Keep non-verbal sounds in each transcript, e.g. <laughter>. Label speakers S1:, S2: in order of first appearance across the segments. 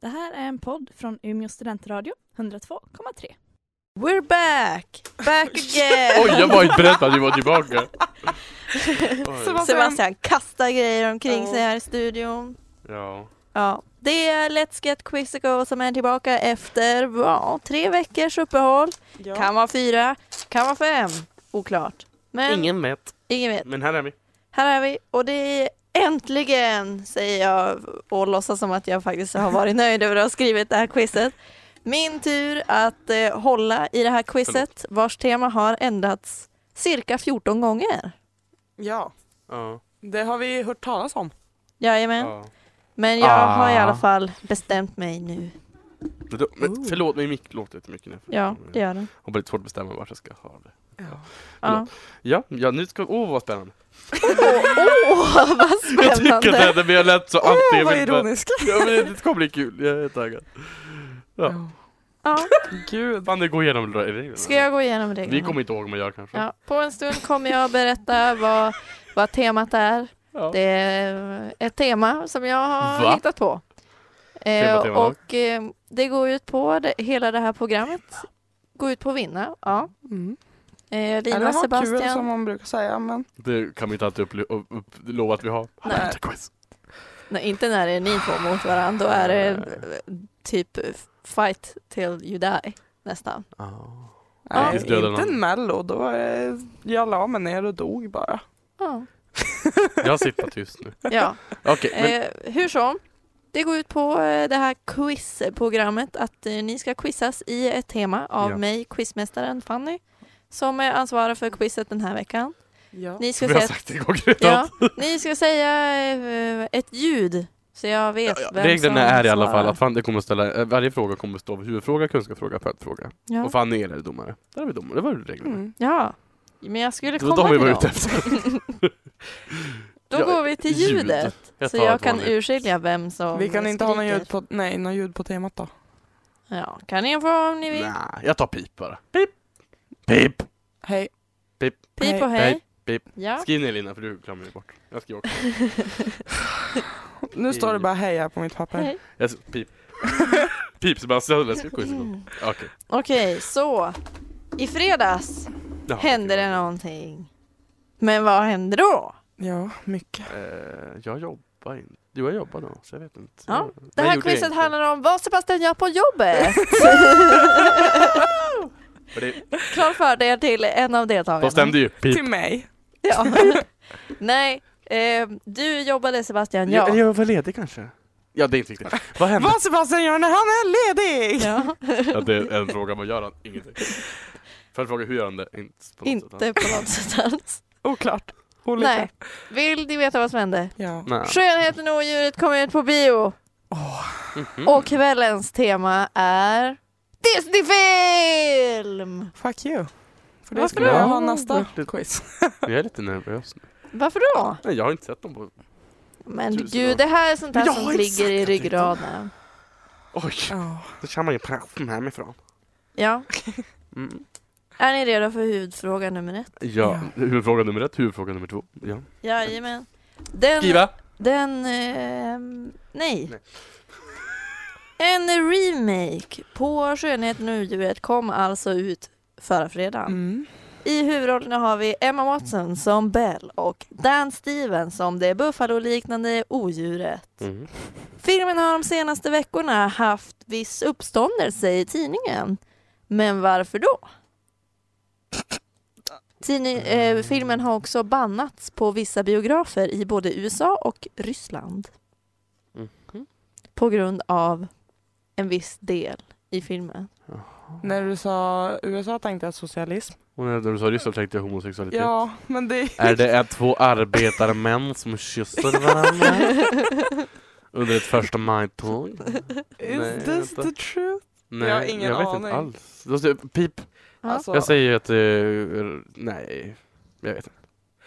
S1: Det här är en podd från Umeå studentradio, 102,3.
S2: We're back! Back again!
S3: <laughs> Oj, jag var inte beredd på att vi var tillbaka.
S1: Så
S3: Oj,
S1: vad-
S2: <laughs> Sebastian kastar grejer omkring
S1: Ja.
S2: sig här i studion.
S3: ja.
S2: Ja, det är Let's Get Quizzical som är tillbaka efter ja, tre veckors uppehåll.
S4: Ja.
S2: Kan vara fyra, kan vara fem. Oklart. Men ingen,
S3: Ingen vet,
S2: vet.
S3: men här är vi.
S2: Här är vi och det är äntligen, säger jag och låtsas som att jag faktiskt har varit nöjd över att ha skrivit det här quizet. Min tur att eh, hålla i det här quizet vars tema har ändrats cirka 14 gånger.
S4: ja,
S3: Ja.
S4: det har vi hört talas om.
S2: Jajamän.
S3: Ja.
S2: Men jag har i
S3: Ah.
S2: alla fall bestämt mig nu.
S3: Men då- Men, förlåt, min mick låter jättemycket nu.
S2: Ja, det gör den.
S3: Har bara lite svårt att bestämma vart jag ska ha det.
S2: Ja.
S3: Ja, ja nu ska Åh, vad spännande.
S2: <laughs> Åh, vad
S3: Jag tycker att det
S2: spännande!
S3: här blir lätt så alltid.
S4: Åh,
S3: jag
S4: vad
S3: vill bara-
S4: ironisk!
S3: Ja, men det kommer bli kul. Jag är taggad. Ja.
S2: Ja,
S3: Gud. Fan, det går igenom reglerna.
S2: ska jag gå igenom reglerna?
S3: Vi kommer inte ihåg, men jag kanske.
S2: ja, på en stund kommer jag berätta vad, vad temat är.
S3: Ja.
S2: Det är ett tema som jag har
S3: Va?
S2: hittat på. Eh,
S3: Tema, tema.
S2: och eh, det går ut på, det, hela det här programmet går ut på att vinna. Ja.
S4: Mm.
S2: Eh,
S4: Eller
S2: Lina,
S4: ha kul som
S2: Sebastian.
S4: man brukar säga. Men...
S3: det kan vi inte alltid upple- upp- upp- lova att vi har.
S2: Nej.
S3: Här är ett quiz.
S2: Nej, inte när det är ni två mot varandra. Då är det eh, typ fight till you die, nästan.
S3: Ja.
S2: Ja.
S4: Nej,
S3: Tills döden
S4: inte en mello, då eh, jag la mig ner och dog bara.
S2: Ja.
S3: Jag sitter tyst nu. <laughs>
S2: ja.
S3: Okej, men
S2: Eh, hur som, det går ut på eh, det här quizprogrammet att eh, ni ska quizas i ett tema av
S3: Ja.
S2: mig, quizmästaren Fanny, som är ansvarig för quizet den här veckan.
S4: Ja.
S2: Ni ska,
S3: vi har
S2: säga,
S3: sagt det en gång redan.
S2: ja, ni ska säga eh, ett ljud, så jag vet
S3: Ja, ja,
S2: vem som
S3: Reglerna är i alla fall
S2: svarar.
S3: att Fanny kommer att ställa, eh, varje fråga kommer att stå av huvudfråga, kunskapsfråga, följdfråga.
S2: Ja.
S3: Och Fanny är domare. Där har vi domare, det var reglerna.
S4: Mm.
S2: ja, men jag skulle
S3: Det var
S2: komma
S3: de vi
S2: till
S3: var
S2: dem.
S3: ute efter.
S2: <laughs>
S3: <laughs>
S2: Då
S3: Ja,
S2: går vi till
S3: ljud.
S2: ljudet, så
S3: tar
S2: jag
S3: ett
S2: kan
S3: vanligt.
S2: urskilja vem som
S4: Vi kan inte ha någon
S2: skriker.
S4: ljud, på, nej, någon ljud på temat då.
S2: Ja, kan ni få om ni vill.
S3: Nej, jag tar pip bara. Pip! Pip!
S4: Hej.
S2: Pip och
S4: Nej.
S2: hej.
S3: Nej, pip.
S2: Ja.
S3: Skriv ner Lina, för du glömmer ju bort. Jag skriver också.
S4: Nu står det bara hej här på mitt papper.
S2: Hej.
S3: Jag, s-
S2: <laughs>
S3: pip. pip Sebastian, jag ska gå
S2: Mm.
S3: igång. Okej.
S2: Okej, så. I fredags
S3: Jaha,
S2: hände
S3: okej.
S2: det någonting. Men vad hände då?
S4: Ja, mycket.
S3: Eh, jag jobbar inte. Jo, jag jobbar då, så jag vet inte.
S2: Ja,
S3: Nej,
S2: Det här
S3: Mm. gjorde jag
S2: quizet
S3: inte.
S2: handlar om vad Sebastian gör på
S3: <laughs>
S2: jobbet.
S3: För det-
S2: Klar fördel till en av deltagarna.
S3: De stämde ju. Pip.
S4: Till mig.
S2: Ja. <laughs> Nej, eh, du jobbade Sebastian,
S3: Jag,
S2: ja.
S3: jag var ledig kanske? Ja, det är
S2: <laughs>
S3: inte viktigt. Vad hände?
S4: Vad Sebastian gör när han är ledig!
S3: <laughs>
S2: ja.
S3: Ja, det är en fråga. Vad gör han? Ingenting. För en fråga, hur gör han det? Inte. på något sätt.
S2: Inte på något sätt alls.
S4: Oklart. Olika.
S2: Nej, vill ni veta vad som hände?
S4: Ja.
S3: Nej.
S2: Skönheten och odjuret kommer ut på bio
S3: Mhm.
S2: och kvällens tema är Disneyfilm!
S4: Fuck you. För
S2: Varför
S4: det skulle jag
S3: då?
S4: ha nästa quiz.
S3: Jag är lite nervös nu.
S2: Varför då?
S3: Nej, jag har inte sett dem på...
S2: Men
S3: Tusen
S2: gud,
S3: år.
S2: det här är sånt här
S3: Men jag
S2: som
S3: har exakt
S2: ligger i
S3: att titta.
S2: ryggraden.
S3: Oj!
S4: Ja.
S3: Då känner man ju pressen hemifrån.
S2: Ja.
S3: Mm.
S2: Är ni redo för huvudfråga nummer ett?
S3: Ja, huvudfråga nummer ett, huvudfråga nummer två. Ja.
S2: Jajamän. Den...
S3: Skriva!
S2: Den... ehm, nej.
S3: Nej.
S2: En remake på Skönheten och odjuret kom alltså ut förra fredagen.
S4: Mm.
S2: I huvudrollerna har vi Emma Watson som Belle och Dan Stevens som det buffaloliknande odjuret.
S3: Mm.
S2: Filmen har de senaste veckorna haft viss uppståndelse i tidningen. Men varför då? Tidning, eh, filmen har också bannats på vissa biografer i både USA och Ryssland
S3: Mhm.
S2: på grund av en viss del i filmen.
S4: När du sa USA tänkte jag socialism.
S3: Och när du sa Ryssland tänkte jag homosexualitet.
S4: Ja, men det
S3: Är det är två arbetarmän som kysser varandra? Under ett första maj-tåg? Nej,
S4: <laughs> Is this
S3: vänta.
S4: the truth?
S3: Nej,
S4: Jag har ingen
S3: jag vet
S4: aning.
S3: inte alls. Då säger jag Pip!
S2: Ja.
S4: Alltså,
S3: Jag säger att... eh, nej, jag vet inte.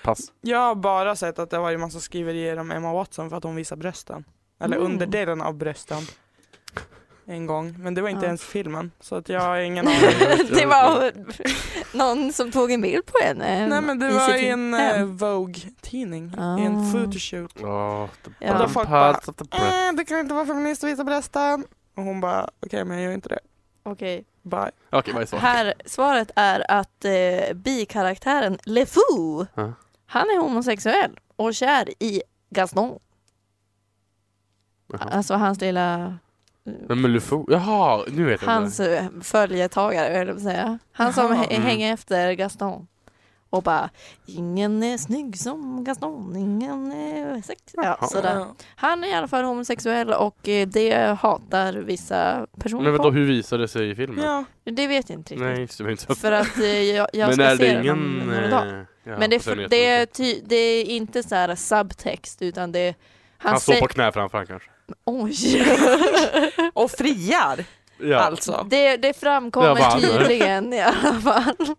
S3: Pass.
S4: jag har bara sett att det var en massa skriverier om Emma Watson för att hon visar brösten. Eller
S2: Mm.
S4: underdelen av brösten. En gång. Men det var inte
S2: Ja.
S4: ens filmen. Så att jag har
S2: <laughs>
S4: ingen aning.
S2: det var någon som tog en bild på henne.
S4: Nej men det
S2: i
S4: var
S2: sitt
S4: i en
S2: hem.
S4: eh, Vogue-tidning. I
S2: Ah.
S4: en photoshoot. Eh,
S3: Ja, the
S2: Ja.
S3: bottom
S4: Och då folk
S3: parts of the breath.
S4: Äh, det kan inte vara feminist att visa brösten. Och hon bara, okej men jag gör inte det.
S2: Okej.
S4: Bye.
S3: Okej, vad är svaret?
S2: Eh, Här, svaret är att eh, bikaraktären LeFou,
S3: Ja.
S2: han är homosexuell och kär i Gaston.
S3: Jaha.
S2: Alltså hans lilla,
S3: Men Melufo? Jaha, nu vet jag
S2: hans
S3: inte.
S2: eh, följetagare höll jag på att säga. Han som
S4: Jaha.
S2: hä-
S3: Mm.
S2: hänger efter Gaston. Och bara, ingen är snygg som Gaston, ingen är sex. Ja,
S3: Jaha.
S2: sådär.
S4: Ja.
S2: Han är i alla fall homosexuell och eh, det hatar vissa personer
S3: Men vadå,
S2: på.
S3: hur visar det sig i filmen?
S4: Ja.
S2: Det vet jag inte riktigt.
S3: Nej, just det. vi har inte sett
S2: För att eh, jag, jag
S3: Men
S2: ska
S3: är
S2: se
S3: det
S2: den om
S3: ingen...
S2: några dagar.
S3: eh, ja,
S2: Men det, är
S3: jag
S2: för-
S3: vet
S2: det,
S3: inte.
S2: är ty, det är inte så här subtext utan det är...
S3: Han, står
S2: säger-
S3: på knä framför han kanske.
S2: Oj!
S4: Och friar
S3: Ja.
S4: alltså.
S2: det, det framkommer
S3: Jag vann.
S2: tydligen i alla fall.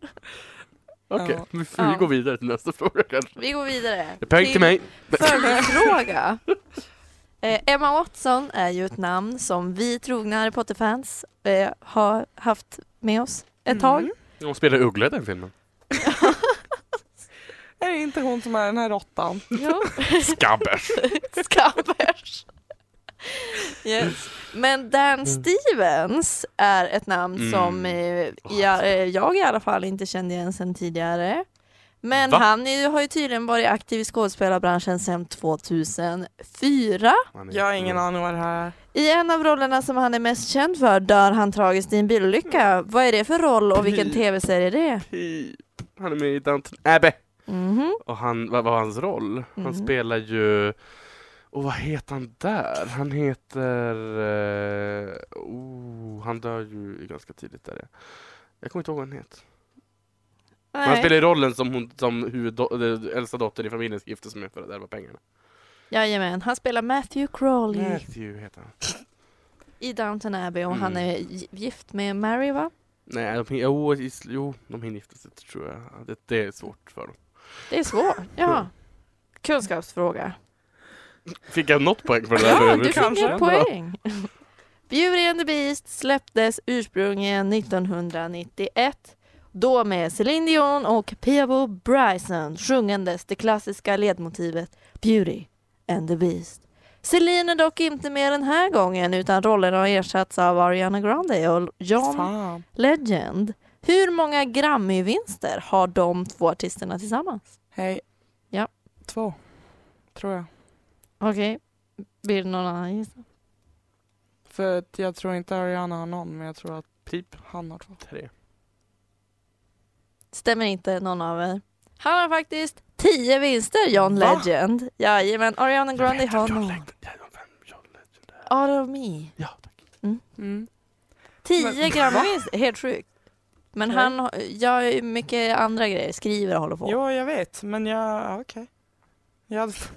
S3: Okej,
S4: Ja.
S3: vi, vi
S2: Ja.
S3: går vidare till nästa <laughs> fråga kanske.
S2: Vi går vidare.
S3: Peng till mig.
S2: Följdfråga. Eh, Emma Watson är ju ett namn som vi trogna Harry Potter-fans eh, har haft med oss ett tag.
S4: Mm.
S3: Hon spelar uggla i den filmen.
S4: Är det inte hon som är den här råttan?
S2: Jo.
S3: Skabbers.
S2: Skabbers. Yes. Men Dan Stevens är ett namn
S3: Mm.
S2: som eh, jag, eh, jag i alla fall inte kände igen sedan tidigare. Men
S3: Va?
S2: han är, ju- har ju tydligen varit aktiv i skådespelarbranschen sedan 2004.
S3: Han är-
S4: Jag har ingen aning vad det här är.
S2: I en av rollerna som han är mest känd för dör han tragiskt i en bilolycka. Vad är det för roll och vilken
S3: Pi.
S2: tv-serie är det?
S3: Pi- Typ. Han är med i Downton Abbey.
S2: Mhm.
S3: Och han, vad var hans roll?
S2: Mhm.
S3: Han spelar ju... Och vad heter han där? Han heter... eh, oh, han dör ju ganska tidigt där. ja. Jag kommer inte ihåg vad han heter. Men han
S2: Nej.
S3: spelar ju rollen som, hon, som huvuddo- eh, äldsta dottern i familjen som gifte sig med för att ärva pengarna.
S2: Jajamän, han spelar Matthew Crawley
S3: Matthew heter han.
S2: i Downton Abbey och
S3: Mm.
S2: han är gi- gift med Mary va?
S3: Nej, de, hin- jo, is- jo, de hinner gifta sig tror jag. Det, det är svårt för dem. <laughs>
S2: Det är svårt. Ja. Kunskapsfråga.
S3: Fick jag något poäng för det där?
S2: Ja, du fick
S4: kanske
S2: en
S4: ändå.
S2: poäng. <laughs> Beauty and the Beast släpptes ursprungligen 1991. Då med Celine Dion och Peabo Bryson sjungandes det klassiska ledmotivet Beauty and the Beast. Celine är dock inte med den här gången utan rollen har ersatts av Ariana Grande och John
S4: Fan.
S2: Legend. Hur många Grammy-vinster har de två artisterna tillsammans?
S4: Hej.
S2: Ja.
S4: Två. Tror jag.
S2: Okej. Vill någon annan gissa?
S4: För att jag tror inte Ariana har någon men jag tror att
S3: Pip.
S4: han har två.
S3: Tre.
S2: Stämmer inte någon av er. Han har faktiskt tio vinster, John
S4: Va?
S2: Legend. Jajamän, Ariana Grande
S3: Jag vet
S2: har
S3: att John
S2: någon.
S3: Legend- jag vet vem John Legend är.
S2: Out of me.
S3: Ja, tack.
S4: Mm.
S2: Tio
S4: Men-
S2: Grammy-vinster, helt sjukt. Men
S4: Okej.
S2: han har- gör ju mycket andra grejer, skriver och håller på.
S4: Jo, jag vet, men jag, ja, okej. Jag hade... Fast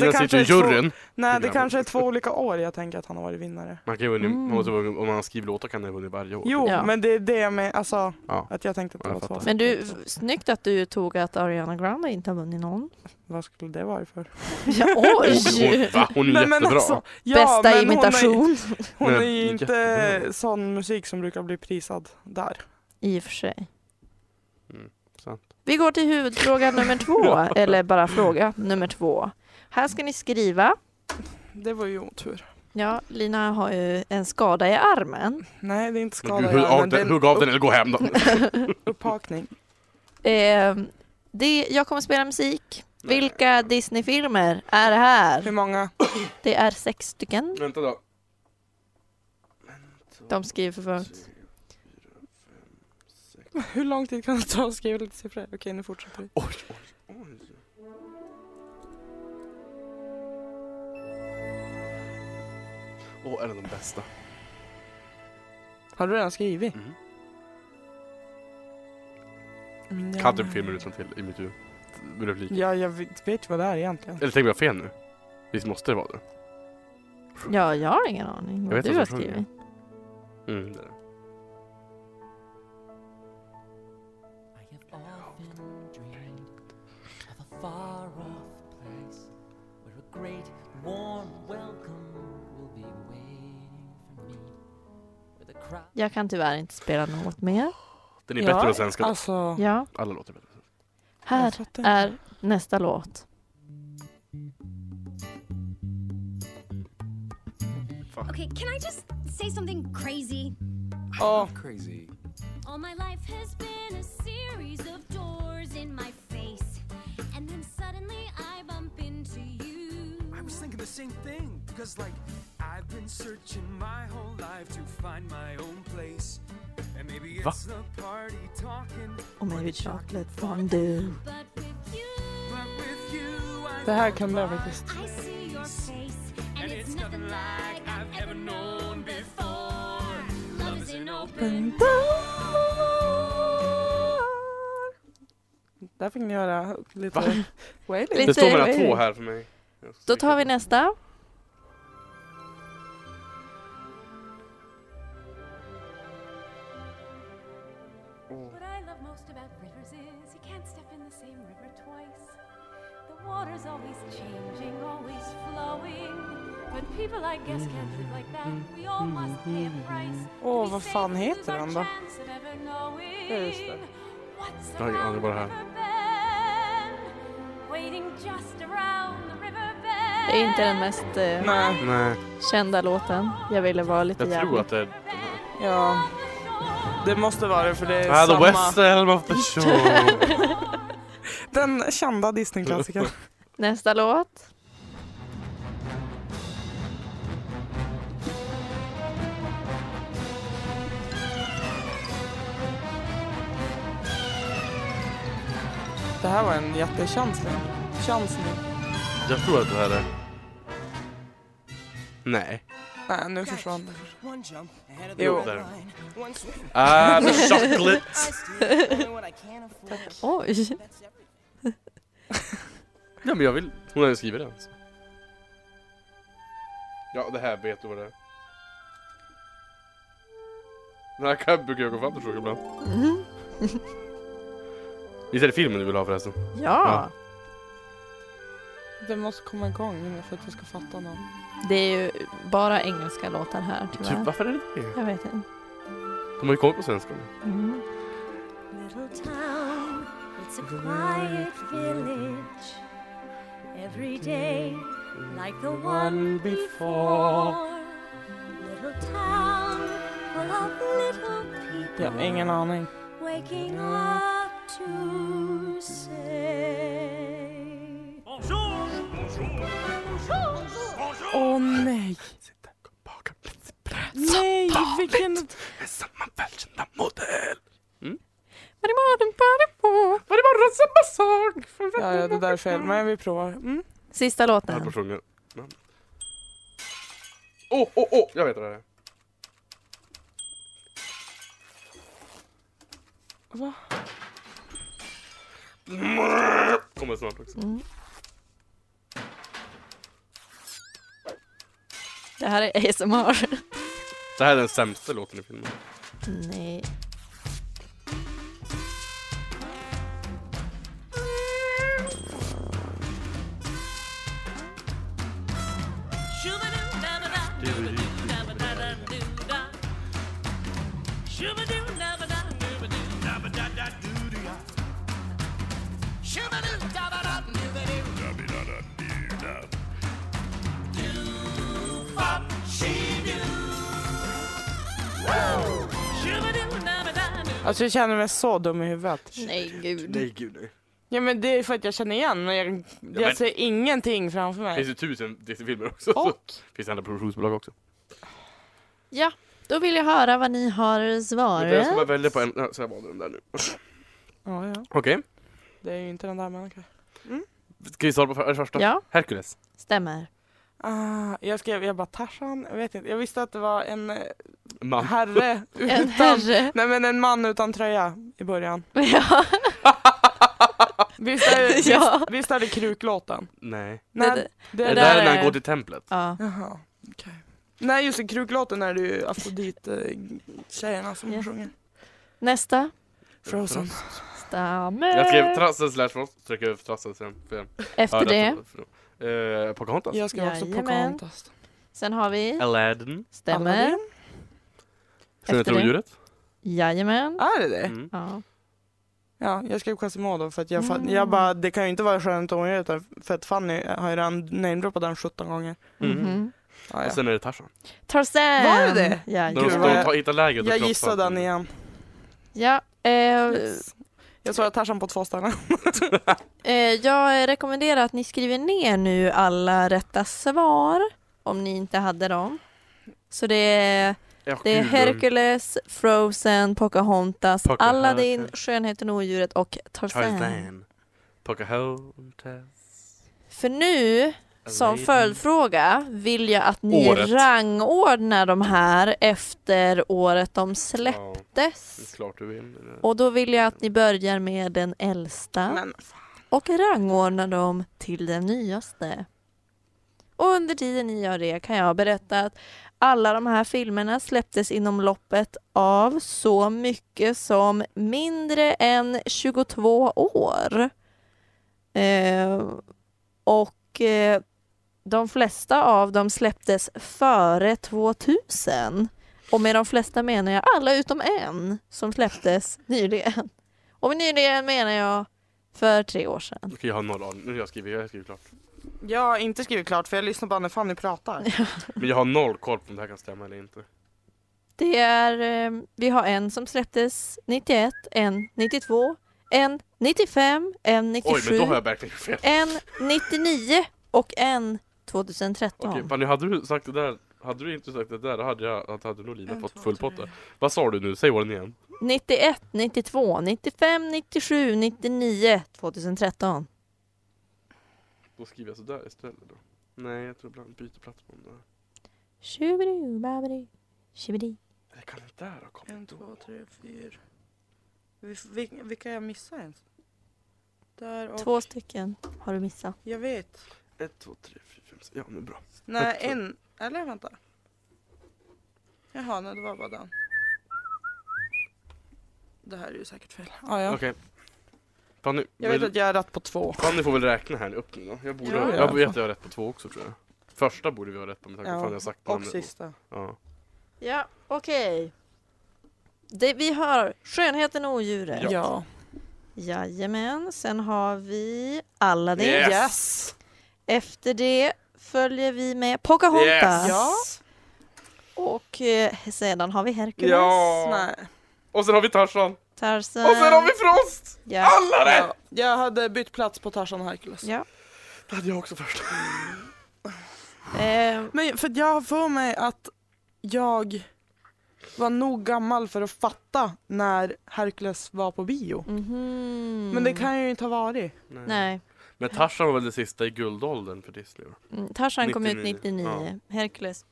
S3: Lina sitter i
S4: två...
S3: juryn.
S4: Nej, det
S3: programmet.
S4: kanske är två olika år jag tänker att han har varit vinnare.
S3: Man kan ju vinna,
S2: Mm.
S3: man måste, vara- om man skriver låtar kan man ju vinna varje år.
S4: Jo,
S2: Ja.
S4: men det är det med, alltså,
S3: Ja.
S4: att jag tänkte att det
S3: Ja,
S4: var
S3: jag
S4: två.
S3: fattar.
S2: Men du, snyggt att du tog att Ariana Grande inte har vunnit
S4: <laughs>
S2: någon.
S4: Vad skulle det vara för? alltså,
S2: Ja,
S3: Hon,
S2: oj! alltså.
S3: hon, va? hon är jättebra.
S2: Bästa
S4: ja, men Hon <laughs>
S2: imitation.
S4: är, hon är
S3: Men
S4: ju inte
S3: jättebra.
S4: sån musik som brukar bli prisad där.
S2: I och för sig.
S3: Mm, sant.
S2: Vi går till huvudfråga nummer
S3: <laughs>
S2: två, eller bara fråga nummer två. Här ska ni skriva
S4: Det var ju otur.
S2: Ja, Lina har ju en skada i armen.
S4: Nej, det är inte
S3: Men
S4: skada.
S3: Gud, hugg,
S4: ja,
S3: av
S4: men det är
S3: den,
S4: en
S3: hugg av den eller gå
S2: <laughs>
S3: hem då.
S4: upp- Upphakning.
S2: Eh, det, jag kommer spela musik. Vilka Disney-filmer är det
S4: Hur
S2: här?
S4: många? <laughs>
S2: Det är sex stycken.
S3: Vänta då.
S2: De skriver för fullt.
S4: Hur lång tid kan det ta att skriva lite siffror? Okej, nu fortsätter vi.
S3: Oj, oj, oj. Åh, är det de bästa?
S4: Har du redan skrivit?
S3: Mm.
S4: Min
S3: Jag
S4: hjärna-
S3: kan typ filmer utan till i mitt huvud. Repliker.
S4: Mm, Ja, jag vet, vet vad det är egentligen.
S3: Eller tänker jag fel nu? Visst måste det vara det?
S2: Ja, jag har ingen aning
S3: Jag
S2: vad
S3: vet
S2: du
S3: vad
S2: har
S3: som sjunger.
S2: skrivit.
S3: Mm, det är det.
S5: I have often dreamed of a far off place where a great warm welcome will be waiting for me. Where the crowd
S2: Jag kan tyvärr inte spela något mer.
S3: Den är
S4: Ja,
S3: bättre än svenska.
S4: Alltså...
S2: Ja,
S3: Alla låter bättre.
S2: här
S4: jag fattar inte.
S2: är nästa låt.
S6: Okay, can I just Say something crazy.
S4: Ja,
S5: Crazy.
S6: All my life has been a series of doors in my face. And then suddenly I bump into you.
S7: I was thinking the same thing because, like, I've been searching my whole life to find my own place. And maybe
S3: Va?
S7: it's the party talking,
S2: Och maybe chocolate fondue.
S6: But with you,
S7: but with you, I
S4: det här
S7: found
S4: kan jag
S7: my-
S4: faktiskt.
S6: I see your face. And,
S7: And
S6: it's, nothing
S7: it's nothing
S6: like
S7: like
S6: I've ever
S7: I've ever
S6: known
S7: known
S6: before. Love is an open
S1: Boom,
S4: Där fick ni göra lite...
S3: Va?
S4: Wailing.
S2: Lite-
S3: Det står mellan
S2: Lite-
S3: två här för mig.
S2: Då tar vi nästa.
S8: What I love most about rivers is you can't step in the same river twice. The water's always changing, always flowing. But people, I guess, can't live like that. We all must pay a price.
S4: Mm-hmm. Åh, vad fan heter den då?
S8: Ja,
S4: just det.
S8: What's
S3: Jag har ingen aning
S8: around the
S3: vad det här-
S8: riverbend? Waiting just around the riverbend.
S2: Det är inte den mest eh,
S4: Nej,
S3: Nej,
S2: kända låten. Jag ville vara lite
S3: jag tror
S2: jävlig.
S3: att det är...
S4: ja. Det måste vara det för det är
S3: Ah, the
S4: samma.
S3: West Elm of the Shore.
S4: Den kända Disney-klassikern.
S2: <laughs> Nästa låt.
S4: Det här var en jättekänslig. Chansning.
S3: <laughs> jag tror att det här är... Nej.
S4: Nej, nu försvann det.
S7: One jump ahead of
S4: Jo.
S7: the
S3: Där.
S7: red line. One
S3: <laughs>
S7: swing,
S3: Ah, the chocolate.
S7: I steal only what I can afford.
S2: Oj.
S7: That's everything.
S3: <laughs> Ja, men jag vill... Hon hade skrivit den. så. Ja, det här vet du vad det är. Den här kan, brukar jag gå fram till frågor ibland.
S2: Mhm. <laughs>
S3: Visst är det filmen du vill ha förresten?
S2: Ja,
S4: Det måste komma igång för att jag ska fatta något.
S2: det är ju bara engelska låtar här
S3: Typ,
S2: tyvärr.
S3: varför är det det?
S2: Jag vet inte.
S3: De har ju kommit på svenska nu.
S2: Mm.
S8: Little town, it's a quiet village. Every day, like the one before. Little town, full of little people.
S4: Jag har ingen aning.
S8: Waking up to say.
S4: Åh nej!
S3: Sitter bakom principrätt.
S4: Nej, vilken...
S3: Med samma välkända modell.
S2: Var det var den bara på?
S3: Var det bara samma sak?
S4: Ja, ja, det där är fel. Men vi provar. Mm.
S2: Sista
S3: Jag höll på
S2: låten.
S3: att sjunga. Men- Åh, åh, åh! Jag vet vad det är.
S4: Va?
S3: Kommer snart också.
S2: Mm. Det här är ASMR.
S3: Det här är den sämsta låten i filmen.
S2: Nej.
S4: Alltså jag känner mig så dum i huvudet.
S2: Nej gud.
S3: Nej gud nej.
S4: Ja men det är för att jag känner igen men jag, jag
S3: men-
S4: ser ingenting framför
S3: Det finns
S4: mig.
S3: ju tusen Disney-filmer också. så
S4: Och?
S3: Finns det andra produktionsbolag också.
S2: Ja, då vill jag höra vad ni har
S3: Men Jag ska bara
S2: svarat.
S3: välja på en. Ja, Så jag valde den där nu.
S4: Ja, ja.
S3: Okej.
S4: Det är ju inte den där människan.
S3: Ska vi svara på för- första?
S2: Ja,
S3: Hercules.
S4: <laughs>
S2: stämmer.
S4: Ah, jag skrev, jag bara Tarzan, jag vet inte. Jag visste att det var en eh,
S3: Man.
S4: herre
S2: <laughs> En
S4: utan...
S2: herre.
S4: Nej men en man utan tröja i början.
S2: Ja.
S4: Visst är,
S2: <laughs>
S4: visst,
S2: Ja.
S4: visst är det kruklåten?
S3: Nej.
S4: Nej,
S2: det-
S4: det
S3: Det,
S4: är
S3: där är när
S2: är-
S3: han går till templet.
S2: Ja.
S4: Jaha, okej. Nej just det, kruklåten är det ju Afrodit-tjejerna som
S2: Ja.
S4: sjunger.
S2: Nästa.
S4: Frozen.
S2: Stämmer.
S3: Jag skrev trassel slash vals, stryker över trassel sen. För,
S2: Eh. Efter det.
S3: Uh, Pocahontas.
S4: Jag skrev också
S2: Jajamän.
S4: Pocahontas.
S2: Sen har vi.
S3: Aladdin.
S2: Stämmer.
S4: Aladdin.
S3: Sen
S2: Efter det.
S3: Rovdjuret.
S2: Jajamän.
S4: Är det det?
S3: Mm.
S2: Ja.
S4: Ja, jag skrev Quasimodo för att jag, fan,
S2: Mm.
S4: jag bara, det kan ju inte vara skönt omöjligt för att Fanny har ju redan namedroppat den 17 gånger.
S3: Mm.
S2: Mhm.
S4: Ja,
S3: Och
S4: ja.
S3: sen är det Tarzan.
S2: Tarzan!
S4: Var det det?
S2: Ja,
S3: När
S4: Gud,
S3: de
S2: just
S3: står
S4: vad
S2: det.
S4: jag-
S3: och tar- hittar lägret och
S4: Jag
S3: krossar.
S4: gissade den igen.
S2: ja eh,
S4: Jag tror att Tarzan på två ställen.
S2: eh, jag rekommenderar att ni skriver ner nu alla rätta svar, om ni inte hade dem. Så det är
S3: Ja,
S2: Det är
S3: gud,
S2: Hercules, Frozen, Pocahontas,
S3: Pocahontas.
S2: Aladdin, Skönheten och odjuret och Tarzan.
S3: Tarzan. Pocahontas.
S2: För nu, som
S3: Aladdin.
S2: följdfråga, vill jag att ni
S3: Året.
S2: rangordnar de här efter året de
S3: Ja, det är
S2: släpptes.
S3: klart du vill.
S2: Och då vill jag att ni börjar med den äldsta
S4: Men
S2: och rangordnar dem till den nyaste. Och under tiden ni gör det kan jag berätta att alla de här filmerna släpptes inom loppet av så mycket som mindre än 22 år. Eh, och eh, de flesta av dem släpptes före 2000. Och med de flesta menar jag alla utom en som släpptes nyligen. Och med nyligen menar jag för tre år
S3: <laughs>
S2: sedan.
S3: Okej, jag har noll aning. Nu har jag skrivit, jag har skrivit klart.
S4: jag har inte skrivit klart för jag lyssnar bara när Fanny pratar.
S3: Men jag har noll koll på om det här kan stämma eller inte.
S2: Det är, eh, vi har en som släpptes 91, en 92, en 95, en
S3: Oj, men
S2: 97,
S3: då har jag verkligen gjort fel.
S2: en 99 och en 2013.
S3: Okej, Fanny, hade du sagt det där, hade du inte sagt det där, då hade <laughs> jag, då hade du nog Lina fått full pott där. Vad sa du nu? Säg åren igen.
S2: 91, 92, 95, 97, 99, 2013.
S3: Då skriver jag sådär istället då. Nej, jag tror ibland byter plats på dem där.
S2: Tjubidi, babidi, tjubidi.
S3: Eller kan det där ha kommit då?
S4: tre, fyra. Vilka jag missar ens? Där och...
S2: Två stycken har du missat.
S4: Jag vet.
S3: Ett, två, tre, fyra, fem, sex. Ja, nu bra.
S4: Nej, en. Eller vänta. Jaha, nej det var bara den. Det här är ju säkert fel. Ah, ja.
S3: Okej. Fanny,
S4: Jag vet
S3: vill-
S4: att jag är rätt på två.
S3: Fanny får väl räkna här nu upp nu då. Jag borde,
S4: Ja, ja.
S3: jag vet att jag har rätt på två också tror jag. Första borde vi ha rätt på med tanke på
S4: Ja,
S3: att Fanny har sagt
S4: Och
S3: namnet.
S4: sista.
S3: Ja.
S2: Ja, okej. Det Vi har Skönheten och odjuret.
S4: Ja.
S2: Jajamän, sen har vi Aladdin.
S3: Yes.
S2: Efter det följer vi med Pocahontas.
S3: Yes.
S4: Ja.
S2: Och eh, sedan har vi Hercules,
S3: Ja.
S4: Nej.
S3: Och sen har vi Tarzan!
S2: Tarzan.
S3: Och sen har vi Frost!
S2: ja.
S3: Alla rätt!
S4: Ja. Jag hade bytt plats på Tarzan och Hercules.
S2: Ja.
S3: Det hade jag också först.
S2: Eh,
S4: Men för att jag har för mig att jag var nog gammal för att fatta när Hercules var på bio.
S2: mhm.
S4: Men det kan jag ju inte ha varit.
S2: Nej.
S3: Men Tarzan var väl det sista i guldåldern för Disney? va?
S2: Mm, Tarzan kom ut
S3: 99.
S2: 99. Hercules.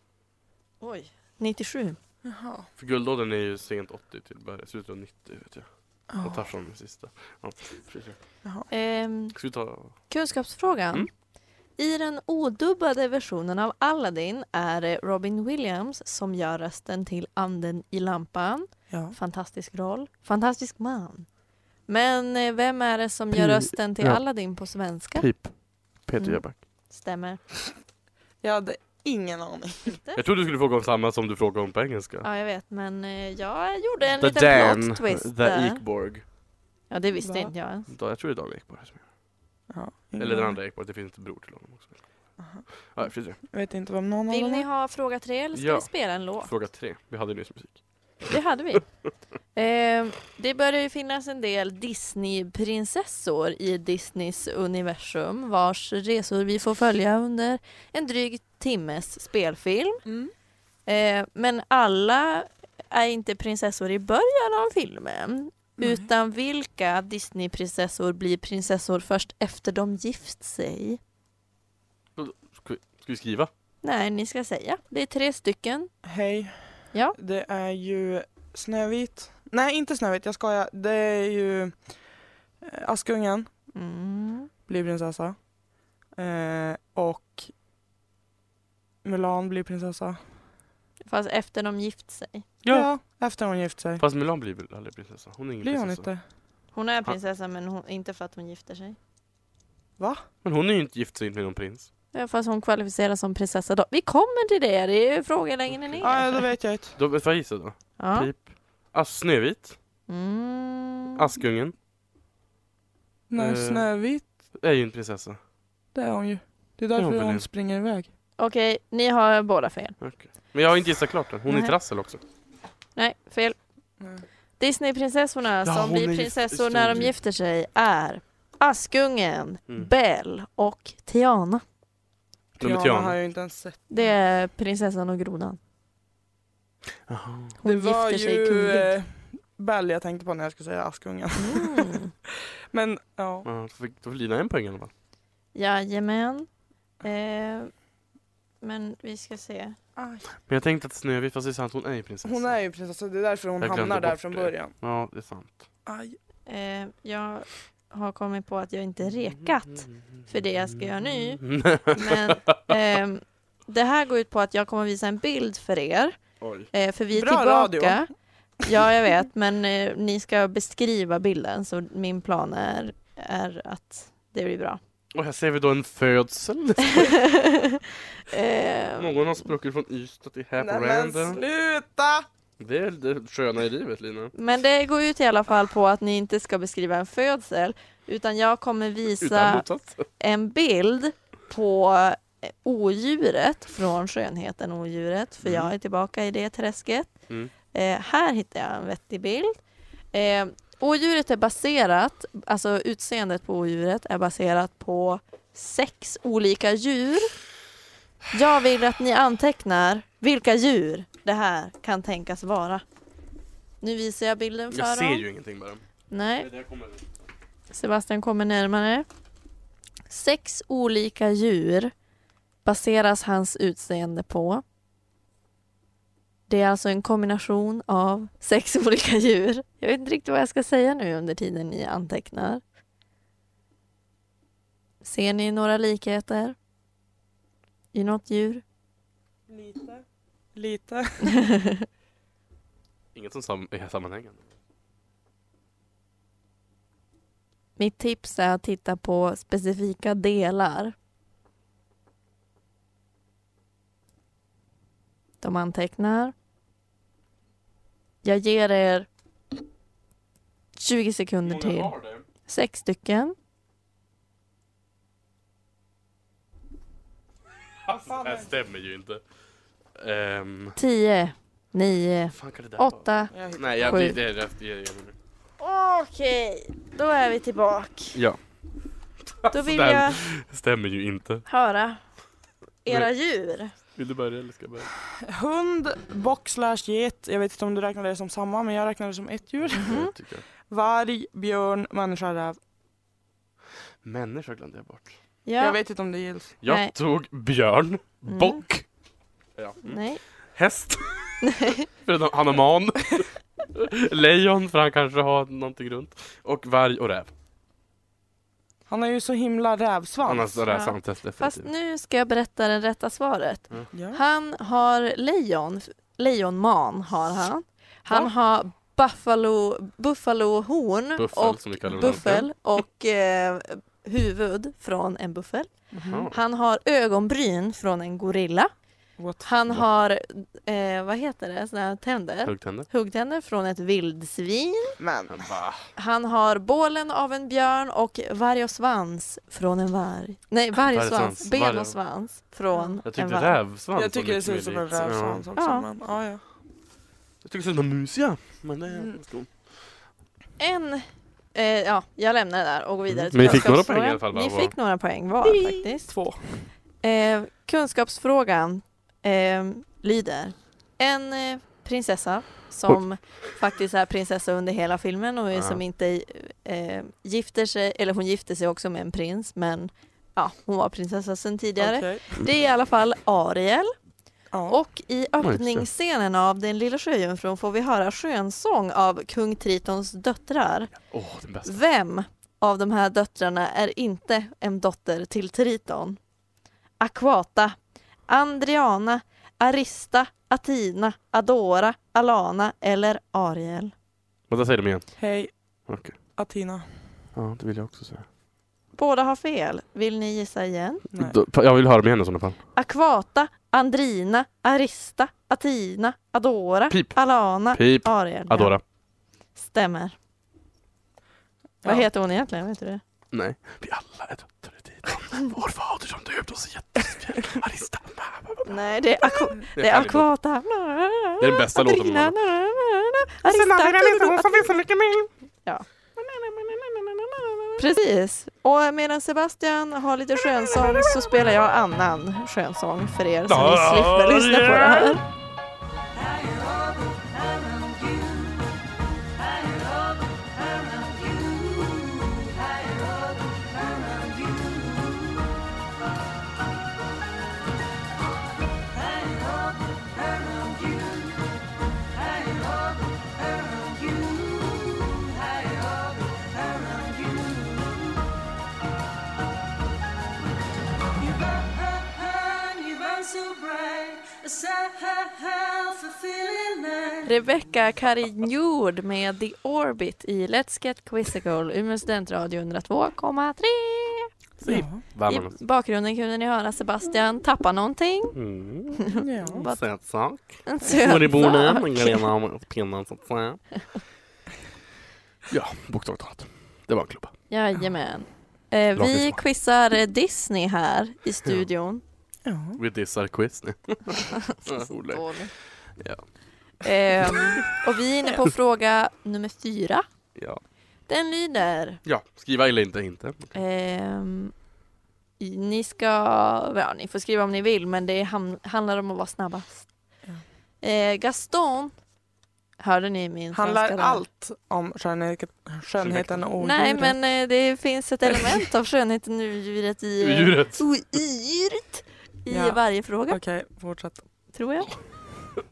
S2: Oj. 97.
S4: Jaha.
S3: För guldåldern är ju sent 80 till början, slutet av 90 vet jag. Och Tarzan är det sista. Ja, precis.
S2: Ehm,
S3: Ska vi ta...
S2: Kunskapsfrågan.
S3: Mm.
S2: I den odubbade versionen av Aladdin är det Robin Williams som gör rösten till anden i lampan.
S4: Ja.
S2: Fantastisk roll, fantastisk man. Men eh, vem är det som gör
S3: Pi-
S2: rösten till
S3: ja.
S2: Aladdin på svenska?
S3: Pip. Typ Peter
S2: Mm.
S3: Jöback.
S2: Stämmer.
S4: Jag hade ingen aning.
S3: Jag trodde du skulle fråga om samma som du frågade om på engelska.
S2: Ja, jag vet, men eh, jag gjorde en liten plot twist
S3: The E-
S2: där.
S3: Ekborg.
S2: Ja, det visste
S4: Va?
S2: inte jag ens.
S3: Da- Jag tror det är Dan Ekborg som gör
S4: Ja,
S3: det. Eller den andra Ekborg, det finns ett bror till honom också. Mm. Ja, precis.
S4: Jag vet inte vem någon av
S2: Vill
S4: dem
S2: ni
S4: är.
S2: ha fråga tre eller ska
S3: Ja.
S2: vi spela en låt?
S3: Fråga tre. Vi hade nyss musik.
S2: Det hade vi. Eh, det börjar ju finnas en del Disney-prinsessor i Disneys universum vars resor vi får följa under en dryg timmes spelfilm.
S4: Mm.
S2: Eh, men alla är inte prinsessor i början av filmen. Utan vilka Disney-prinsessor blir prinsessor först efter de gift sig?
S3: Ska vi skriva?
S2: Nej, ni ska säga. Det är tre stycken.
S4: Hej.
S2: Ja.
S4: Det är ju Snövit. Nej, inte Snövit, jag skojar. Det är ju eh, Askungen
S2: Mm.
S4: blir prinsessa. Eh, och Mulan blir prinsessa.
S2: Fast efter de gift sig.
S3: Ja.
S4: efter hon gift sig.
S3: Fast Mulan blir väl aldrig prinsessa? Hon är ingen
S4: Blir hon
S3: prinsessa.
S4: inte?
S2: Hon är prinsessa men hon, inte för att hon gifter sig.
S3: Men hon är ju inte gift sig med någon prins.
S2: Ja, fast hon kvalificeras som prinsessa då. Vi kommer till det, det är ju frågor längre ner.
S4: Ah, ja, då vet Typ. jag inte.
S3: Då vet jag gissa då.
S2: Ja.
S3: Pip. As Snövit.
S2: Mm.
S3: Askungen.
S4: Nej,
S3: Eh.
S4: Snövit,
S3: Är ju en prinsessa.
S4: det är hon ju. Det är
S3: Ja,
S4: därför
S3: men
S4: hon
S3: det-
S4: springer iväg.
S2: Okej, ni har båda fel.
S3: Men jag har inte gissat klart än. Hon är
S2: Nej.
S3: ett rassel också.
S2: Nej, fel.
S4: Mm.
S2: Disneyprinsessorna
S3: Ja,
S2: som
S3: hon är
S2: blir
S3: ju-
S2: prinsessor
S3: stor.
S2: när de gifter sig är Askungen,
S3: Mm.
S2: Belle och Tiana.
S3: Nummer
S4: Piano har
S3: Tiana.
S4: jag ju inte ens sett.
S2: Det är prinsessan och grodan.
S3: Jaha.
S2: Hon
S4: det var
S2: gifter sig
S4: ju
S2: kunglig.
S4: eh, Bell jag tänkte på när jag skulle säga Askungen. <laughs>
S2: Mm.
S4: Men ja.
S3: Ja, då fick, då får Lina en poäng i alla fall.
S2: Jajamän. Eh, men vi ska se.
S4: Aj.
S3: Men jag tänkte att Snövit, fast det är sant, hon är ju prinsessa.
S4: Hon är ju prinsessa, det är därför hon
S3: Jag glömde
S4: hamnar där
S3: bort
S4: från
S3: det.
S4: början.
S3: Ja, det är sant.
S4: Aj.
S2: Eh, jag har kommit på att jag inte
S3: Mm.
S2: rekat för det jag ska göra nu. Men ehm, det här går ut på att jag kommer visa en bild för er.
S3: Oj.
S2: Eh, för vi är
S4: Bra
S2: tillbaka.
S4: radio.
S2: Ja, jag vet. Men eh, ni ska beskriva bilden. Så min plan är, är att det blir bra.
S3: <laughs>
S2: <laughs>
S3: Och här ser vi då en födsel.
S2: eh,
S3: Någon har spruckit från Ystad till
S4: Nej
S3: Haparanda.
S4: men alltså- sluta!
S3: Det är det sköna i livet Lina.
S2: men det går ut i alla fall på att ni inte ska beskriva en födsel. Utan jag kommer
S3: Utan
S2: visa
S3: motsats.
S2: en bild på eh, odjuret från Skönheten och odjuret, för
S3: Mm.
S2: jag är tillbaka i det träsket.
S3: Mm.
S2: Eh, här hittar jag en vettig bild. Eh, odjuret är baserat, alltså utseendet på odjuret är baserat på sex olika djur. Jag vill att ni antecknar vilka djur det här kan tänkas vara. Nu visar jag bilden för
S3: Jag ser
S2: dem.
S3: ju ingenting bara. Det
S2: Nej.
S3: är det jag kommer till.
S2: Sebastian kommer närmare. Sex olika djur baseras hans utseende på. Det är alltså en kombination av sex <laughs> olika djur. Jag vet inte riktigt vad jag ska säga nu under tiden ni antecknar. Ser ni några likheter? I något djur?
S4: Lite. Lite.
S3: Inget som sam är sammanhängande.
S2: Mitt tips är att titta på specifika delar. De antecknar. Jag ger er 20 sekunder till.
S3: har det?
S2: Sex stycken.
S3: Alltså, det här stämmer ju inte. Ehm,
S2: 10, 9,
S3: vad fan kan det där vara?
S2: 8.
S4: Jag hittar-
S3: Nej, jag,
S2: Sju.
S3: det, det, det, det, det, det.
S2: Okej, då är vi tillbaka.
S3: Ja,
S2: Då vill
S3: Sådär.
S2: jag
S3: stämmer ju inte.
S2: höra era djur.
S3: Vill du börja eller ska jag börja?
S4: Hund, bock slash get. Jag vet inte om du räknar det som samma men jag räknar det som ett djur.
S3: Mm. Tycker jag.
S4: <laughs> Varg, björn, människa, räv.
S3: Människa glömde jag bort.
S4: Jag
S2: Ja,
S4: vet inte om det gills.
S3: Jag
S2: Nej.
S3: tog björn,
S2: Mm.
S3: bock, ja. mm.
S2: nej.
S3: häst, <laughs> för att han har man, <laughs> lejon för han kanske har någonting runt, och varg och räv.
S4: Han har ju så himla rävsvans.
S3: Annars är det här
S2: Ja.
S3: samtest
S2: <laughs> Fast
S3: definitivt.
S2: nu ska jag berätta det rätta svaret.
S4: Ja.
S2: Han har lejon, lejonman har han. Han
S4: Va?
S2: har buffalo, buffalohorn
S3: Buffel
S2: och
S3: som vi kallar det.
S2: buffel och eh, huvud från en buffel.
S4: Mhm.
S3: Ja.
S2: Han har ögonbryn från en gorilla.
S4: What?
S2: Han
S3: Va?
S2: har, eh, vad heter det, såna här tänder?
S3: Huggtänder.
S2: Huggtänder från ett vildsvin.
S4: Men.
S3: Va?
S2: Han har bålen av en björn och varg och svans från en varg. Nej, varg och
S3: Varg och
S2: svans,
S3: svans.
S2: ben
S3: Varg och-
S2: och svans från
S3: Jag
S2: en
S3: tyckte
S2: varg.
S3: rävsvans var
S4: Jag tycker det
S3: mycket
S4: ser
S3: mer
S4: ut som en
S3: likt.
S4: rävsvans
S3: Ja.
S4: också.
S2: Ja.
S4: Men, ja, ja.
S3: Jag tycker det ser ut som en mus ja. Men det är mm.
S2: en... Eh, ja, jag lämnar det där och går vidare
S3: Mm, men ni fick några
S2: kunskapsfrågan.
S3: poäng i alla fall, va?
S2: Ni
S3: Var-
S2: fick några poäng var faktiskt.
S4: Två.
S2: Eh, kunskapsfrågan eh, lyder. En eh, prinsessa som faktiskt är prinsessa under hela filmen och är
S3: Ja.
S2: som inte eh, gifter sig, eller hon gifte sig också med en prins men ja, hon var prinsessa sedan tidigare.
S4: Okej.
S2: Det är i alla fall Ariel
S4: Ja.
S2: och i
S3: just det.
S2: öppningsscenen av Den lilla sjöjungfrun får vi höra skönsång av kung Tritons döttrar.
S3: Åh, den bästa.
S2: Vem av de här döttrarna är inte en dotter till Triton? Aquata, Andriana, Arista, Athena, Adora, Alana eller Ariel?
S3: Men där säger de igen.
S4: Hej.
S3: Okej.
S4: Athena.
S3: Ja, det vill jag också säga.
S2: Båda har fel. Vill ni gissa igen?
S4: Nej.
S3: Då- Jag vill höra dem igen i sådana fall.
S2: Aquata, Andrina, Arista, Athena, Adora,
S3: Pip.
S2: Alana,
S3: Pip.
S2: Ariel. Ja,
S3: Adora.
S2: Stämmer.
S4: Ja.
S2: Vad heter hon egentligen? Vet du det?
S3: Nej. Vi alla är döttrar i tiden. Vår fader som döpt oss i jättesfjäll, han är stanna.
S2: Nej, det är, aqu- det är
S3: härlig låt.
S2: Aquata.
S3: Det är den bästa låten hon har.
S2: Precis. Och medan Sebastian har lite skönsång så spelar jag annan skönsång för er så ni slipper lyssna på det här. Rebecca Carinjord med The Orbit i Let's Get Quizzical, Umeå studentradio 102,3.
S4: Ja.
S3: Varm.
S2: I bakgrunden kunde ni höra Sebastian tappa någonting.
S3: Mm.
S4: ja.
S2: <laughs> Vad-
S3: Söt sak.
S2: En
S3: Var i
S2: söt
S3: borden.
S2: sak.
S3: Grenar om pinnen så att säga. Ja, bokstavligt talat. Det var en klubba.
S2: Jajamän. Eh,
S3: Rakt
S2: vi
S3: ifrån.
S2: quizar eh, Disney här i studion.
S4: ja.
S3: Vi dissar quiz nu. Olle. Ja.
S2: Ehm,
S3: <laughs>
S2: och vi är inne på fråga nummer fyra.
S3: Ja.
S2: Den lyder.
S3: ja, skriva eller inte, inte.
S2: ehm, i- ni ska, ja, ni får skriva om ni vill men det ham- handlar om att vara snabbast. Eh, Gaston, hörde ni min
S4: Handlar
S2: franska där?
S4: allt om skönhet, skönheten och
S2: Nej
S4: djuren?
S2: men eh, det finns ett element av skönheten i djuret i,
S3: Djuret.
S2: i, djuret i
S4: Ja.
S2: varje fråga
S4: Okej, fortsätt.
S2: tror jag.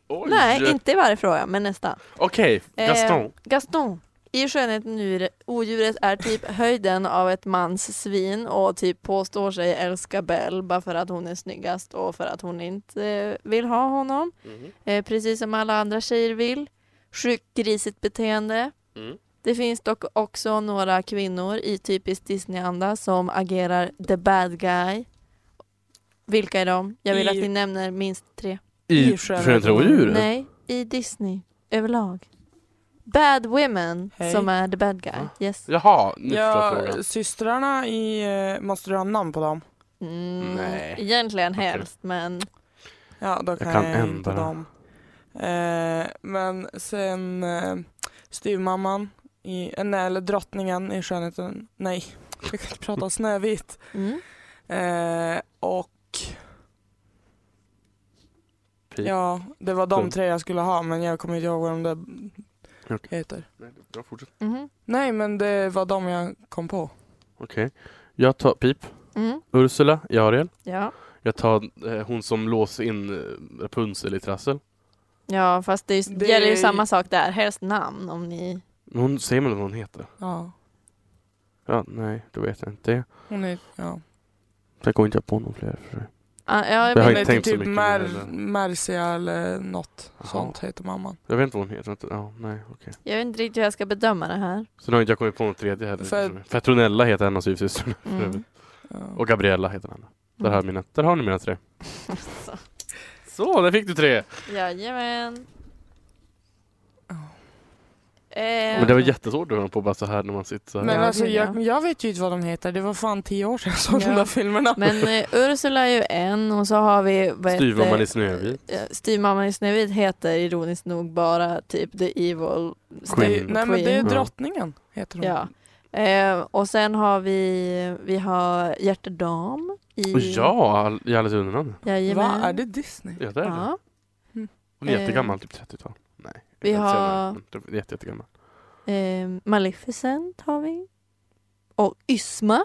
S3: Oj.
S2: Nej, inte i varje fråga men nästan.
S3: Okej, Gaston.
S2: Eh, Gaston. I skönheten nu, odjuret är typ höjden av ett mans svin och typ påstår sig älska Belle bara för att hon är snyggast och för att hon inte eh, vill ha honom.
S3: Mhm.
S2: Eh, precis som alla andra tjejer vill. Sjukt grisigt beteende.
S3: Mm.
S2: Det finns dock också några kvinnor i typisk Disney-anda som agerar the bad guy. Vilka är de? Jag vill
S4: I-
S2: att ni nämner minst tre.
S3: I
S4: I skönhet-
S3: Skönhet och odjuret?
S2: Nej, i Disney överlag. Bad women
S4: Hej.
S2: som är the bad guy.
S3: Va?
S2: Yes.
S3: Jaha, nu förstår jag
S4: Ja, eh,
S3: frågan.
S4: systrarna i... eh, Måste du ha namn på dem?
S2: Mm,
S3: Nej.
S2: Egentligen
S3: Okej.
S2: helst, men
S4: Ja, då kan jag,
S3: kan en
S4: inte
S3: bara.
S4: dem. Eh, men sen eh, styvmamman, i, eh, nej, eller drottningen i skönheten, nej, <laughs> jag kan inte prata om Snövit.
S2: mm.
S4: Eh, och
S3: Pip.
S4: ja, det var de
S3: Plum.
S4: tre jag skulle ha men jag kommer inte ihåg vad de där
S3: Okej.
S4: heter.
S3: Nej, det- jag fortsätter.
S4: Mm.
S2: Mhm.
S4: Nej men det var de jag kom på.
S3: Okej. Jag tar Pip,
S2: Mm.
S3: Ursula i Ariel.
S2: Ja.
S3: Jag tar eh, hon som låser in eh, Rapunzel i trassel.
S2: ja, fast det,
S4: Det-
S2: gäller ju samma sak där. Helst namn om ni...
S3: Men Hon säger väl vad hon heter?
S4: Ja,
S3: Ja, nej, då vet jag inte det.
S4: hon är, ja.
S3: Sen kommer inte jag på någon fler. för sig.
S2: Ah, ja, jag
S3: Det har
S2: vet
S3: inte
S4: Hon heter
S3: tänkt så
S4: typ
S3: mycket
S4: Mer,
S3: heller.
S4: Mercia eller något
S3: Jaha.
S4: sånt heter mamman.
S3: Jag vet inte vad hon heter. inte- Ja, nej, okej.
S2: Jag vet inte riktigt hur jag ska bedöma det här.
S3: Sen har inte jag kommit på någon tredje heller.
S4: För-
S3: Petronella heter en av styvsystrarna. för
S2: Mm.
S3: övrigt.
S4: Ja.
S3: Och Gabriella heter den andra. Där, har jag mina, där har ni mina tre.
S2: Alltså.
S3: Så, där fick du tre!
S2: <laughs> Jajamän.
S4: Ja.
S2: Eh,
S3: Men det var jättesvårt att höra på bara så här när man sitter så här.
S4: Men
S2: Ja,
S4: alltså
S2: gud,
S4: jag, jag vet ju inte vad de heter, det var fan tio år sedan jag såg
S2: Ja.
S4: de där filmerna.
S2: men eh, Ursula är ju en och så har vi... vad heter-
S3: Styvmamman i Snövit.
S2: Eh, Styvmamman i Snövit heter ironiskt nog bara typ The Evil
S4: Det,
S3: Queen.
S4: nej men det är
S3: Queen.
S4: drottningen heter hon.
S2: Ja. Eh, och sen har vi, vi har Hjärtedam i...
S3: Och ja, all- i Alice i Underlandet.
S2: Jajamän.
S4: Va, är det Disney?
S3: Ja, det är det.
S2: Ja.
S3: Hon är
S2: Eh,
S3: jättegammal, typ 30-tal. Nej,
S2: vi
S3: jag vet inte
S2: har-
S3: senare, men typ Jätte, jättegammal.
S2: Eh, Maleficent har vi. Och Ysma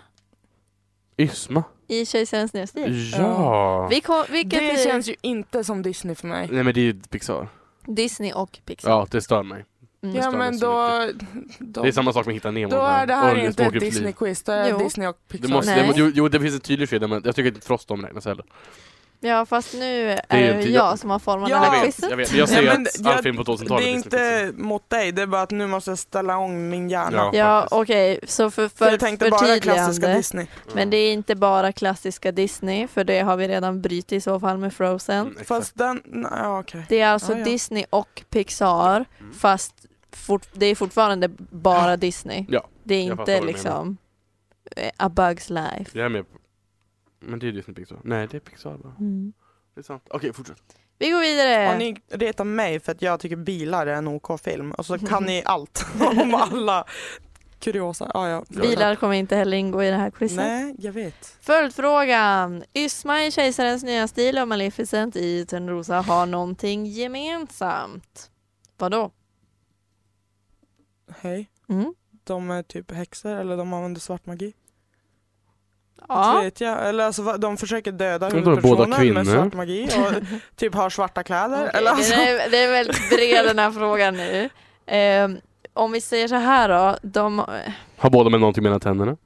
S3: Ysma.
S2: i Kejsarens nya stil.
S3: Ja!
S2: Vi kom, vilket
S4: Det
S2: är
S4: känns ju inte som Disney för mig.
S3: Nej men det är ju Pixar.
S2: Disney och Pixar.
S3: Ja, det stör mig.
S2: Mm.
S4: Ja
S3: stör mig
S4: men
S3: så
S4: då... då
S3: Det är samma sak med Hitta Nemo.
S4: Då är det
S3: Och
S4: här inte ett
S3: Småkryp liv.
S4: Disney-quiz, det är
S2: Jo.
S4: Disney och
S3: Det
S4: Pixar.
S3: måste,
S2: Nej.
S3: det, jo, jo, det finns en tydlig skillnad men jag tycker inte Frost omräknas heller.
S2: Ja fast nu är
S3: är ju
S2: det
S3: inte-
S2: jag som har format
S4: Ja,
S2: den
S3: Jag
S2: här
S3: vet,
S2: quizet.
S3: jag vet. Jag
S4: Nej,
S3: säger
S4: men
S3: att all
S4: jag-
S3: film på
S4: Det är
S3: 2000-talet Disney-pixar.
S4: inte mot dig, det är bara att nu måste jag ställa om min hjärna.
S3: Ja.
S2: Ja
S3: faktiskt.
S2: okej, så för,
S4: för
S2: för,
S4: jag tänkte bara klassiska
S2: förtydligande.
S4: Disney.
S2: Men det är inte bara klassiska Disney för det har vi redan brytt i så fall med Frozen.
S3: Mm, exakt.
S4: Fast den, nej, ja okej.
S2: Det är alltså
S4: Ja, ja.
S2: Disney och Pixar
S3: Mm.
S2: fast fort, det är fortfarande bara Disney.
S3: Ja,
S2: det är
S3: jag fattar vad
S2: inte
S3: du
S2: liksom eh, A Bugs Life.
S3: Jag är med på Men det är Disney Pixar. Nej, det är Pixar bara.
S1: Mm.
S3: Det är sant. Okej, fortsätt.
S2: Vi går vidare.
S4: Har ni retat mig för att jag tycker bilar är en OK-film och så
S2: <laughs>
S4: kan ni allt <laughs> om alla kuriosa. Ja, ja.
S2: Bilar kommer inte heller ingå i det här quizet.
S4: Nej, jag vet.
S2: Följdfrågan. Ysma i Kejsarens nya stil och Maleficent i Törnrosa har någonting gemensamt. Vadå?
S4: Hej.
S2: Mm.
S4: De är typ häxor eller de använder svart magi. Inte
S2: Ja.
S4: Vet jag. Eller alltså, va- de försöker döda
S3: Men då är båda
S4: huvudpersonen med
S3: kvinnor.
S4: svart magi
S2: <laughs>
S4: och typ har svarta kläder.
S2: Okej,
S4: eller alltså,
S2: den, är, den är väldigt bred den här frågan nu. Ehm, om vi säger så här då. De... <laughs>
S3: Har båda med någonting mellan tänderna?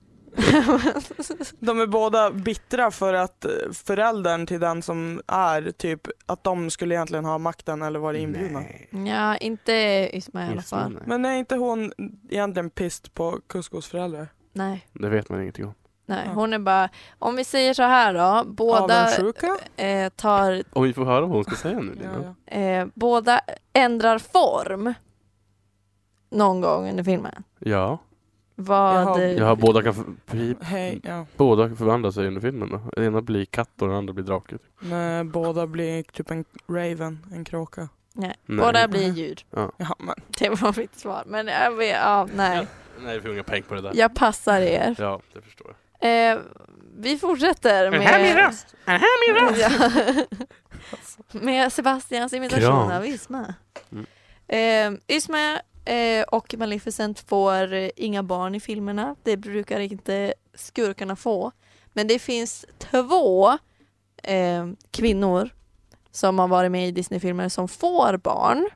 S4: De är båda bittra för att eh, föräldern till den som är typ att de skulle egentligen ha makten eller vara inbjudna.
S2: ja, inte Ysma i alla
S3: Just det,
S2: fall.
S3: nej.
S4: Men är inte hon egentligen pissed på Kuskos föräldrar?
S2: Nej,
S3: Det vet man ingenting om.
S2: nej.
S4: Ja.
S2: Hon är bara, om vi säger så här då. Båda
S4: Avundsjuka?
S2: eh, tar
S3: Om vi får höra vad hon ska säga nu Lina.
S4: Ja, ja.
S2: eh, båda ändrar form någon gång under filmen.
S3: Ja.
S2: Vad...
S4: Jaha.
S3: Jag har båda kan för- pri-
S4: Hej, ja.
S3: båda kan förvandla sig under filmen då. Den ena blir katt och den andra blir drake. typ.
S4: Nej, båda blir typ en raven, en kråka.
S2: Nej.
S3: Nej.
S2: Båda blir djur.
S4: Ja, men
S2: Det var mitt svar. Men jag vet, ja, nej.
S3: Nej, vi får inga pengar på det där.
S2: Jag passar er.
S3: Ja, det förstår jag.
S2: Eh, vi fortsätter med... Här min röst! Här min röst! <laughs> med Sebastians imitation
S3: Kram.
S2: av Isma.
S3: Mm.
S2: Eh, Isma eh, och Maleficent får eh, inga barn i filmerna. Det brukar inte skurkarna få. Men det finns två eh, kvinnor som har varit med i Disney-filmer som får barn.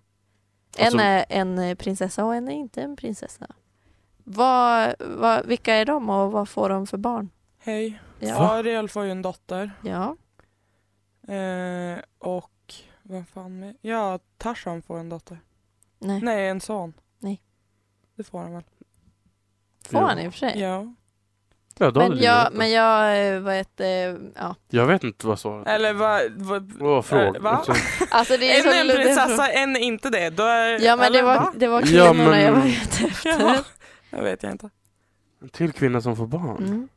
S2: En
S3: Alltså-
S2: är en prinsessa och en är inte en prinsessa. Vad, vad, vilka är de och vad får de för barn?
S4: hej.
S2: Ja.
S4: Ariel får ju en dotter.
S2: Ja.
S4: Eh, och vem fan med? Ja, Tarzan får en dotter.
S2: Nej.
S4: Nej, en son.
S2: Mm. Nej.
S4: Det får han väl?
S2: Får
S3: Ja.
S2: han i och för sig.
S4: Ja.
S3: Ja, då
S2: Men
S3: hade Lina
S2: jag,
S3: rätt då.
S2: men jag, eh, vad heter, eh, ja.
S3: Jag vet inte vad svaret
S2: Äh,
S4: Eller vad? vad
S3: Vad fråga?
S4: Eh, va?
S3: Alltså,
S2: Alltså det är
S4: en
S2: så
S4: är en
S2: luddigt.
S4: prinsessa, en är inte det. Då är,
S2: Ja men
S4: eller
S2: det var,
S4: va?
S2: <laughs> det var
S3: Ja,
S2: kvinnorna
S3: men-
S2: jag var ute
S4: Ja,
S2: efter.
S4: jag vet jag inte.
S3: en till kvinna som får barn?
S2: Mm.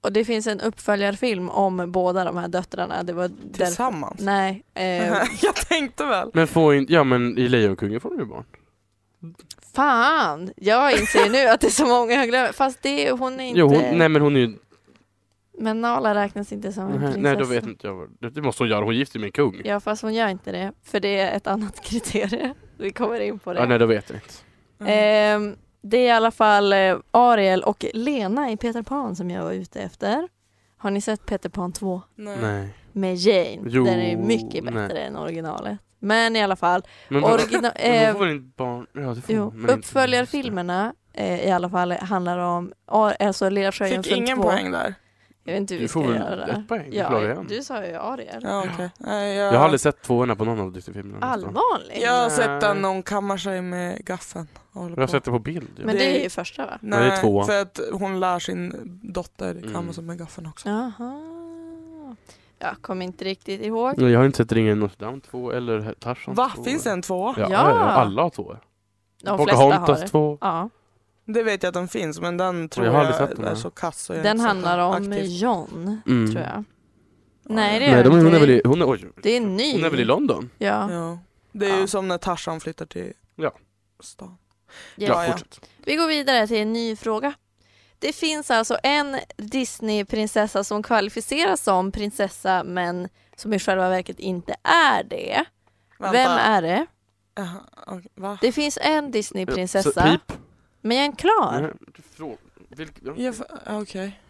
S2: Och det finns en uppföljarfilm om båda de här döttrarna. Det var därför.
S4: Tillsammans? <laughs>
S2: Nej. Eh,
S4: jag tänkte väl.
S3: Men får inte, ja men i Lejonkungen får de ju barn.
S2: fan, jag inser nu att det är så många jag glömmer. Fast det, hon är inte...
S3: Jo, hon, nej men hon är ju,
S2: Men Nala räknas inte som en
S3: nej,
S2: prinsessa.
S3: nej då vet inte jag vad, det- det måste hon göra, hon gifter sig med en kung. Ja,
S2: Ja fast hon gör inte det, för det är ett annat <laughs> kriterie. Vi kommer in på det.
S3: nej då vet jag inte. Mm.
S2: Ehm, det är i alla fall eh, Ariel och Lena i Peter Pan som jag var ute efter. Har ni sett Peter Pan 2
S4: Nej.
S3: Nej.
S2: med Jane?
S3: Jo,
S2: Den är mycket
S3: nej.
S2: bättre än originalet. Men i alla fall,
S3: Men, vad-
S2: origina-
S3: <laughs> men
S2: eh,
S3: då får väl inte barn, ja det får
S2: jo,
S3: men inte-
S2: uppföljarfilmerna eh, i alla fall handlar om Ar- alltså Lilla
S4: Fick
S2: Sjöjungfrun 2.
S4: ingen poäng där.
S2: Jag vet inte hur
S3: Du
S2: vi ska
S3: får
S2: göra
S3: väl
S2: det där.
S3: ett poäng, du klarar
S2: Ja,
S3: igen.
S2: du sa ju Ariel.
S4: Ja, okej. Nej, Jag,
S3: Jag har aldrig sett tvåorna på någon av Disney-filmerna. nästan.
S2: Allvarligt?
S4: Jag har
S3: Nej.
S4: sett den när hon kammar sig med gaffeln. och håller
S3: Jag har
S4: på.
S3: sett det på bild. Ja.
S2: Men det,
S4: det-
S2: är ju första va?
S4: Nej,
S3: Nej, det är tvåan.
S4: för att hon lär sin dotter kamma
S3: Mm.
S4: sig med gaffeln också.
S2: Jaha. Jag kommer inte riktigt ihåg.
S3: Nej, Jag har inte sett Ringen i Notre Dame 2 eller Tarzan
S4: Va,
S3: 2.
S4: finns det en tvåa?
S3: Ja,
S2: Ja.
S3: ja. alla har tvåor.
S2: De flesta har
S3: Pocahontas
S2: det.
S3: 2.
S2: Ja.
S4: Det vet jag att den finns, men den tror
S3: jag
S4: jag,
S3: har aldrig sett den
S4: är
S3: här.
S4: så kass. Eh, så jag
S2: Den
S4: inte sett
S2: handlar om
S4: aktivt.
S2: John,
S3: Mm.
S2: tror jag.
S4: Ja,
S2: Nej, det
S4: ja.
S2: gör
S3: Nej, de, hon,
S2: inte
S3: är väl
S2: det.
S3: i, hon, är, oj,
S2: Det är ny.
S3: hon är väl i London?
S2: Ja.
S4: Ja. Det är
S2: Ja.
S4: ju som när Tarzan flyttar till
S3: Ja.
S4: stan.
S2: Yes.
S4: Ja, ja.
S3: fortsätt.
S2: Vi går vidare till en ny fråga. Det finns alltså en Disney-prinsessa som kvalificeras som prinsessa men som i själva verket inte är det.
S4: Vänta.
S2: Vem är det?
S4: Jaha, okej, va?
S2: Det finns en Disney-prinsessa,
S3: Så, pip.
S2: men jag är inte klar.
S3: Nej, du frå- vilk- ja.
S4: Jag, f- ja, okej.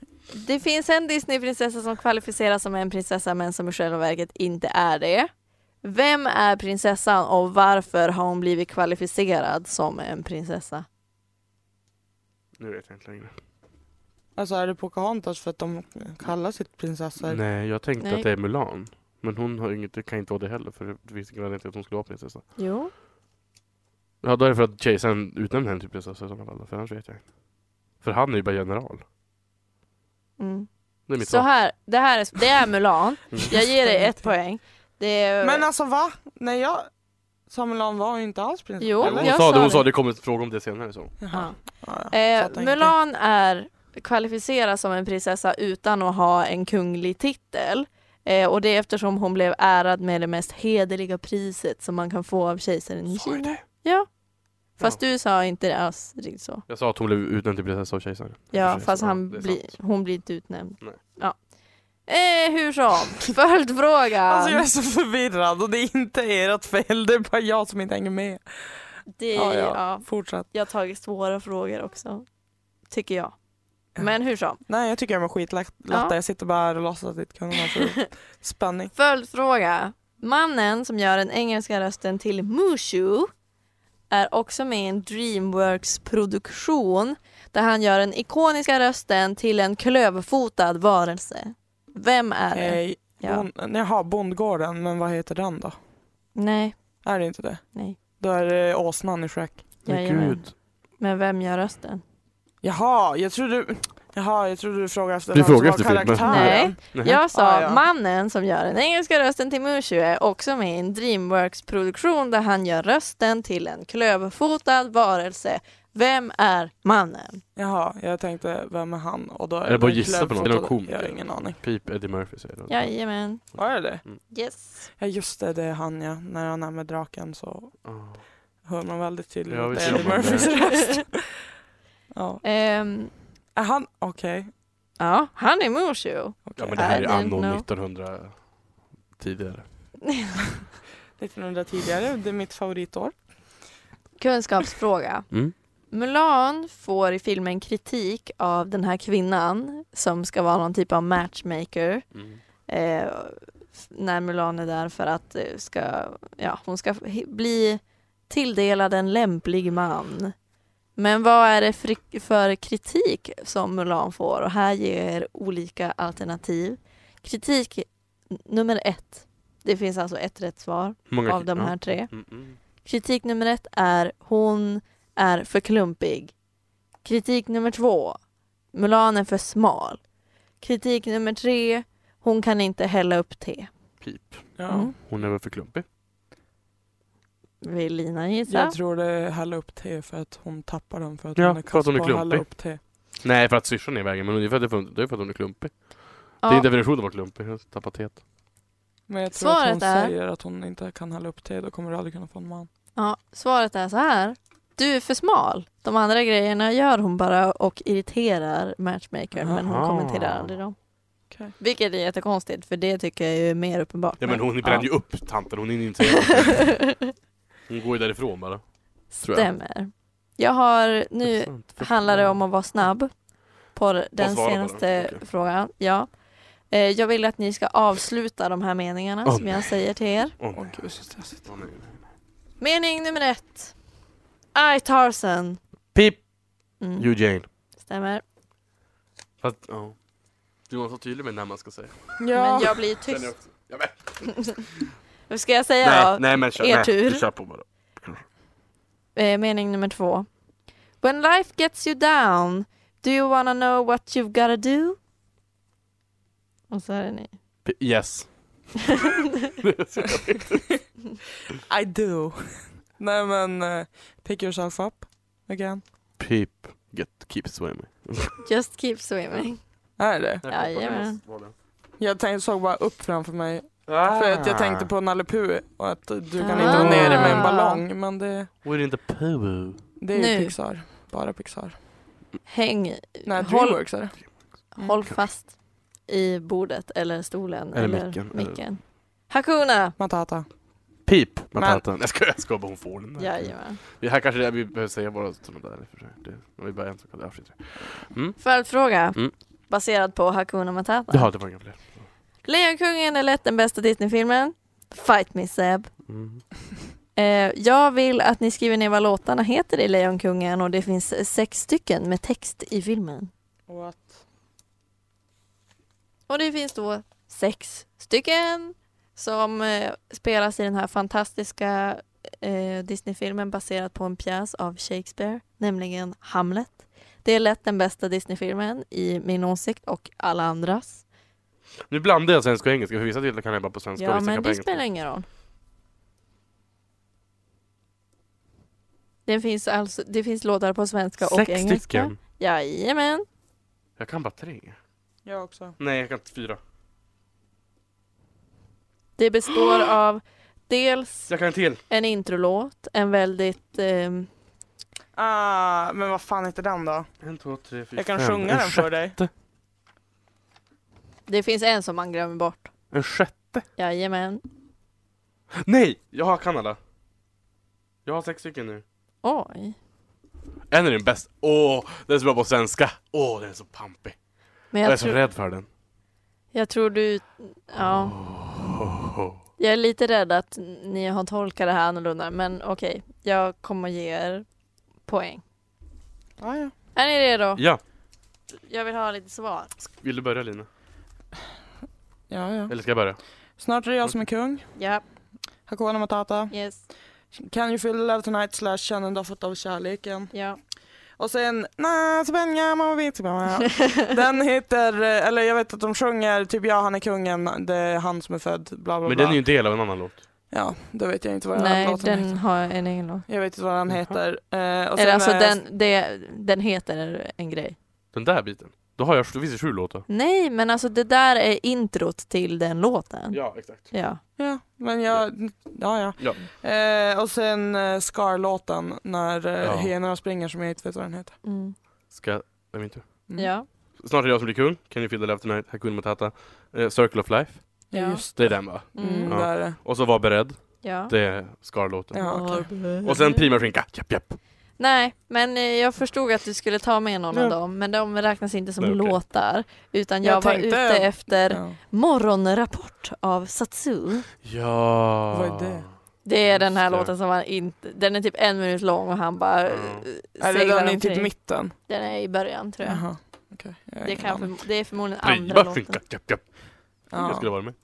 S2: Det finns en Disney-prinsessa som kvalificeras som en prinsessa men som i själva verket inte är det. Vem är prinsessan och varför har hon blivit kvalificerad som en prinsessa?
S3: Nu vet jag inte längre.
S4: Alltså är det Pocahontas för att de kallar sitt prinsessor?
S3: Nej, jag tänkte
S2: Nej.
S3: att det är Mulan. Men hon har inget, det kan inte vara det heller för det finns ingen anledning till att hon skulle vara prinsessa.
S2: Jo.
S3: Ja, då är det för att kejsaren utnämnde henne till prinsessa i sådana fall. För annars vet jag inte. För han är ju bara general.
S2: Mm.
S3: Det är mitt
S2: Så
S3: svar.
S2: här, det här är, det är Mulan.
S3: <laughs> Mm.
S2: Jag ger dig ett poäng. Det är,
S4: Men alltså va? Nej jag... Samuelan var ju inte alls prins.
S2: Jo,
S3: hon
S2: jag
S3: sa
S2: sa
S3: det, hon
S2: det.
S3: sa det kommer en fråga om det senare. Så.
S4: Jaha. Ja, ja.
S2: eh,
S4: Fattar ingenting.
S2: Mulan är kvalificeras som en prinsessa utan att ha en kunglig titel. Eh, och det är eftersom hon blev ärad med det mest hederliga priset som man kan få av kejsaren i
S3: Sa jag
S2: Kina.
S3: det?
S2: Ja. Fast du sa inte det alls riktigt så.
S3: Jag sa att hon blev utnämnd till prinsessa av kejsaren.
S2: Ja,
S3: Precis,
S2: fast
S3: ja,
S2: han
S3: det är
S2: blir-
S3: sant.
S2: hon blir inte utnämnd.
S3: Nej.
S2: Ja. Eh, hur
S3: <laughs>
S2: som, följdfråga.
S4: Alltså jag är så förvirrad och det är inte ert fel, det är bara jag som inte hänger med.
S2: det,
S4: Ja, ja.
S2: ja.
S4: Fortsätt.
S2: Jag har tagit svåra frågor också, tycker jag. Men hur som.
S4: Nej jag tycker de är skitlätta,
S2: Ja.
S4: jag sitter bara här och låtsas att det inte kan vara för
S2: <laughs>
S4: spänning.
S2: Följdfråga. Mannen som gör den engelska rösten till Mushu är också med i en Dreamworks-produktion där han gör den ikoniska rösten till en klövfotad varelse. Vem är det?
S4: Eh,
S2: Ja.
S4: bon, jaha, Bondgården, men vad heter den då?
S2: Nej,
S4: Är det inte det?
S2: Nej.
S4: Då är det åsnan i Shrek.
S3: Men
S2: Jajamän.
S3: gud.
S2: men vem gör rösten?
S4: Jaha, jag trodde, jaha, jag trodde du frågade efter
S3: Vi
S4: vem som
S3: frågar
S4: var
S3: efter filmen.
S4: karaktären.
S2: Nej.
S3: Nej.
S2: Jag sa
S4: Ah, ja.
S2: mannen som gör den engelska rösten till Mushu är också med i en Dreamworks-produktion där han gör rösten till en klövfotad varelse. Vem är mannen?
S4: Jaha, jag tänkte vem är han? Och då
S3: Är det bara
S4: en
S3: gissa på något? Är
S4: klövfotad-
S3: det någon komiker?
S4: Jag har ingen aning.
S3: Pip Eddie Murphy säger det.
S2: Jajamän.
S4: Vad är det?
S2: Yes.
S4: Ja just det, det är han ja. När han är med draken så
S3: Ah.
S4: hör man väldigt tydligt
S3: Ja,
S4: att
S3: vi
S4: det
S3: ser
S4: är Eddie
S3: honom
S4: Murphys
S3: där.
S2: <laughs>
S4: <laughs> röst. Ja.
S2: Ehm,
S4: Är han, okej.
S2: ja, han är Mushu.
S3: Ja
S4: okej.
S3: men det här
S2: I
S3: är
S2: don't
S3: anno
S2: know.
S3: 1900 tidigare.
S4: 1900 Äh, tidigare, det är mitt favoritår.
S2: Kunskapsfråga.
S3: Mm.
S2: Mulan får i filmen kritik av den här kvinnan som ska vara någon typ av matchmaker
S3: Mm.
S2: eh, f- när Mulan är där för att eh, ska, ja, hon ska he- bli tilldelad en lämplig man. Men vad är det för, för kritik som Mulan får? Och här ger olika alternativ. Kritik n- nummer ett. Det finns alltså ett rätt svar
S3: Hur Många
S2: av de här tre.
S3: Mm, mm.
S2: Kritik nummer ett är hon är för klumpig. Kritik nummer två, Mulan är för smal. Kritik nummer tre, hon kan inte hälla upp te.
S3: Pip.
S4: Ja.
S2: Mm.
S3: Hon är väl för klumpig?
S2: Vill Lina gissa?
S4: Jag tror det är hälla upp te för att hon tappar den för att
S3: Ja,
S4: hon är
S3: för att
S4: kass
S3: hon är
S4: på att hälla
S3: klumpig.
S4: upp te.
S3: Nej för att syrsan är i vägen men det är för att, det är för- det är för att hon är klumpig. Det är
S2: Ja,
S3: en definition av att vara klumpig. Hon tappar teet.
S4: Men jag tror att
S2: Svaret
S4: hon
S2: är-
S4: säger att hon inte kan hälla upp te, då kommer du aldrig kunna få en man.
S2: ja, svaret är så här. Du är för smal. De andra grejerna gör hon bara och irriterar matchmakern men hon
S3: Aha.
S2: kommenterar aldrig dem.
S4: Okej.
S2: Vilket är jättekonstigt för det tycker jag är mer uppenbart.
S3: Ja men hon bränner ju upp tanten. <laughs> Hon är inte Hon går ju därifrån bara.
S2: <laughs>
S3: tror jag.
S2: Stämmer. Jag har nu
S3: Intressant.
S2: handlar det om att vara snabb på den
S3: svara på
S2: senaste
S3: den, okej.
S2: frågan. Ja. Eh, Jag vill att ni ska avsluta de här meningarna
S3: Åh,
S2: som jag säger till er.
S3: Åh
S4: Åh
S3: nej.
S4: gud, så stressigt.
S3: Åh, nej.
S2: Mening nummer ett. I Tarzan.
S3: Pip!
S2: Mm,
S3: Eugene.
S2: stämmer.
S3: Fast, ja. Du var så tydlig med när man ska säga.
S2: Men
S4: Ja,
S2: jag blir
S3: Den är
S2: tyst.
S3: också- Ja, men-
S2: Vad ska jag säga då?
S3: nej men kör,
S2: er tur.
S3: kör på bara.
S2: Eh, Mening nummer två. When life gets you down, do you wanna know what you've gotta do? Och så är det ni.
S3: P- <laughs> yes.
S4: I do. <laughs> Nej men, eh, pick yourself up again.
S3: Pip. Get, keep swimming.
S2: Just keep swimming.
S4: Är det?
S2: Jajamän.
S4: Jag tänkte, såg bara upp framför mig
S3: Ah.
S4: För att jag tänkte på Nalle Puh och att du kan inte
S2: Ah.
S4: vara nere med en ballong. Men det,
S3: We're in the poo.
S4: det är ju
S2: Nu.
S4: Pixar. Bara Pixar.
S2: Häng
S4: Nej,
S2: Håll-
S4: Dreamworks är det. Mm.
S2: Håll fast i bordet eller stolen
S3: Eller
S2: eller,
S3: micken,
S2: micken.
S3: eller-
S2: Hakuna!
S4: Matata.
S3: Pip.
S4: Men-
S3: Matatan. Jag skojar, jag skojar bara hon får den där.
S2: Jajamän.
S3: Det här kanske är det vi behöver säga bara sådana där i och för sig. Det, om vi bara en så kan det ja, skit i det.
S2: Följdfråga
S3: Mm.
S2: baserad på Hakuna Matata.
S3: Jaha, det var inga fler.
S2: Lejonkungen är lätt den bästa Disney-filmen. Fight me Seb.
S3: Mm.
S2: Eh, jag vill att ni skriver ner vad låtarna heter i Lejonkungen och det finns sex stycken med text i filmen.
S4: What?
S2: Och det finns då sex stycken som eh, spelas i den här fantastiska eh, Disney-filmen baserad på en pjäs av Shakespeare, nämligen Hamlet. Det är lätt den bästa Disney-filmen i min åsikt och alla andras.
S3: Nu blandar jag svenska och engelska för vissa titlar kan jag bara på svenska och
S2: Ja,
S3: vissa
S2: men
S3: kan på
S2: det
S3: engelska.
S2: spelar ingen roll. Det finns, alltså, det finns låtar på svenska och
S3: Sex
S2: engelska.
S3: stycken?
S2: Jajamän.
S3: Jag kan bara tre.
S4: Jag också.
S3: Nej, jag kan inte fyra.
S2: Det består <gasps> av dels
S3: Jag kan en till.
S2: en introlåt, en väldigt... ehm,
S4: Ah, men vad fan heter den då?
S3: En, två, tre, fyra,
S4: Jag kan
S3: fem.
S4: sjunga
S3: en
S4: den
S3: sjätte-
S4: för dig.
S2: det finns en som man glömmer bort.
S3: En sjätte?
S2: Jajamän.
S3: Nej! Jag har Kanada. Jag har sex stycken nu.
S2: Oj.
S3: En är den bästa. Åh, den är så bra på svenska. Åh, den är så pampig.
S2: Men
S3: Jag, är
S2: jag,
S3: så
S2: tror-
S3: rädd för den.
S2: jag tror du... Ja.
S3: Åh.
S2: Jag är lite rädd att ni har tolkat det här annorlunda, men okej. Jag kommer ge er poäng.
S4: Ah, ja.
S2: Är ni redo?
S3: Ja,
S2: Jag vill ha lite svar.
S3: vill du börja Lina?
S4: ja, ja.
S3: Eller ska jag börja?
S4: Snart är det jag som är kung.
S2: Ja,
S4: Hakuna Matata.
S2: yes,
S4: Can you feel the love tonight? Slash känn en doft av kärleken.
S2: ja.
S4: Och sen na, så Benja, mamma
S2: <laughs>
S4: vet, mamma. Den heter, eh, eller jag vet att de sjunger typ ja han är kungen, det är han som är född, bla bla
S3: Men
S4: bla.
S3: den är ju en del av en annan låt.
S4: Ja, då vet jag inte vad den här
S2: Nej,
S4: låten
S2: den
S4: liksom- heter.
S2: har en egen låt.
S4: Jag vet inte vad den
S3: Jaha.
S4: heter. Eh, och sen
S2: Eller alltså
S4: är-
S2: den, det, den heter en grej.
S3: Den där biten. Då har jag, då finns det sju låtar.
S2: Nej, men alltså det där är introt till den låten.
S3: Ja, exakt.
S2: Ja.
S4: Ja, men jag, ja ja.
S3: Ja.
S4: Eh, och sen eh, Scar-låten när eh,
S3: Ja.
S4: hyenorna springer som jag inte vet vad den heter.
S2: Mm.
S3: Ska jag, är min tur?
S4: Mm.
S2: Ja.
S3: Snart är jag som blir kung. Can you feel the love tonight? Hakuna Matata. Eh, Circle of life.
S4: Ja,
S2: Ja.
S4: just
S3: Det är den va?
S4: mm,
S2: Mm.
S3: Ja.
S4: där är det.
S3: Och så Var beredd.
S2: ja.
S3: Det är Scar-låten.
S4: Ja, okej. Mm.
S3: Och sen Prima skinka. Japp, japp.
S2: Nej, men eh, jag förstod att du skulle ta med någon av dem, men de räknas inte som
S3: Nej, okej.
S2: låtar. Utan jag,
S4: Jag
S2: var
S4: tänkte-
S2: ute efter
S4: Ja.
S2: Morgonrapport av Satsu.
S3: Ja.
S4: Vad är det?
S2: Det är den här
S3: Just det.
S2: låten som han inte... Den är typ en minut lång och han bara
S3: Ja.
S2: eh,
S4: Eller
S2: seglar
S4: den är
S2: omkring.
S4: typ mitten.
S2: Den är i början tror jag.
S4: Jaha. Okej. Jag har
S2: Det,
S4: ingen
S2: kan
S4: aning.
S2: för, det är förmodligen andra
S3: Prima
S2: låten.
S3: skinka. Japp, japp. Jag skulle
S4: ja.
S3: vara med.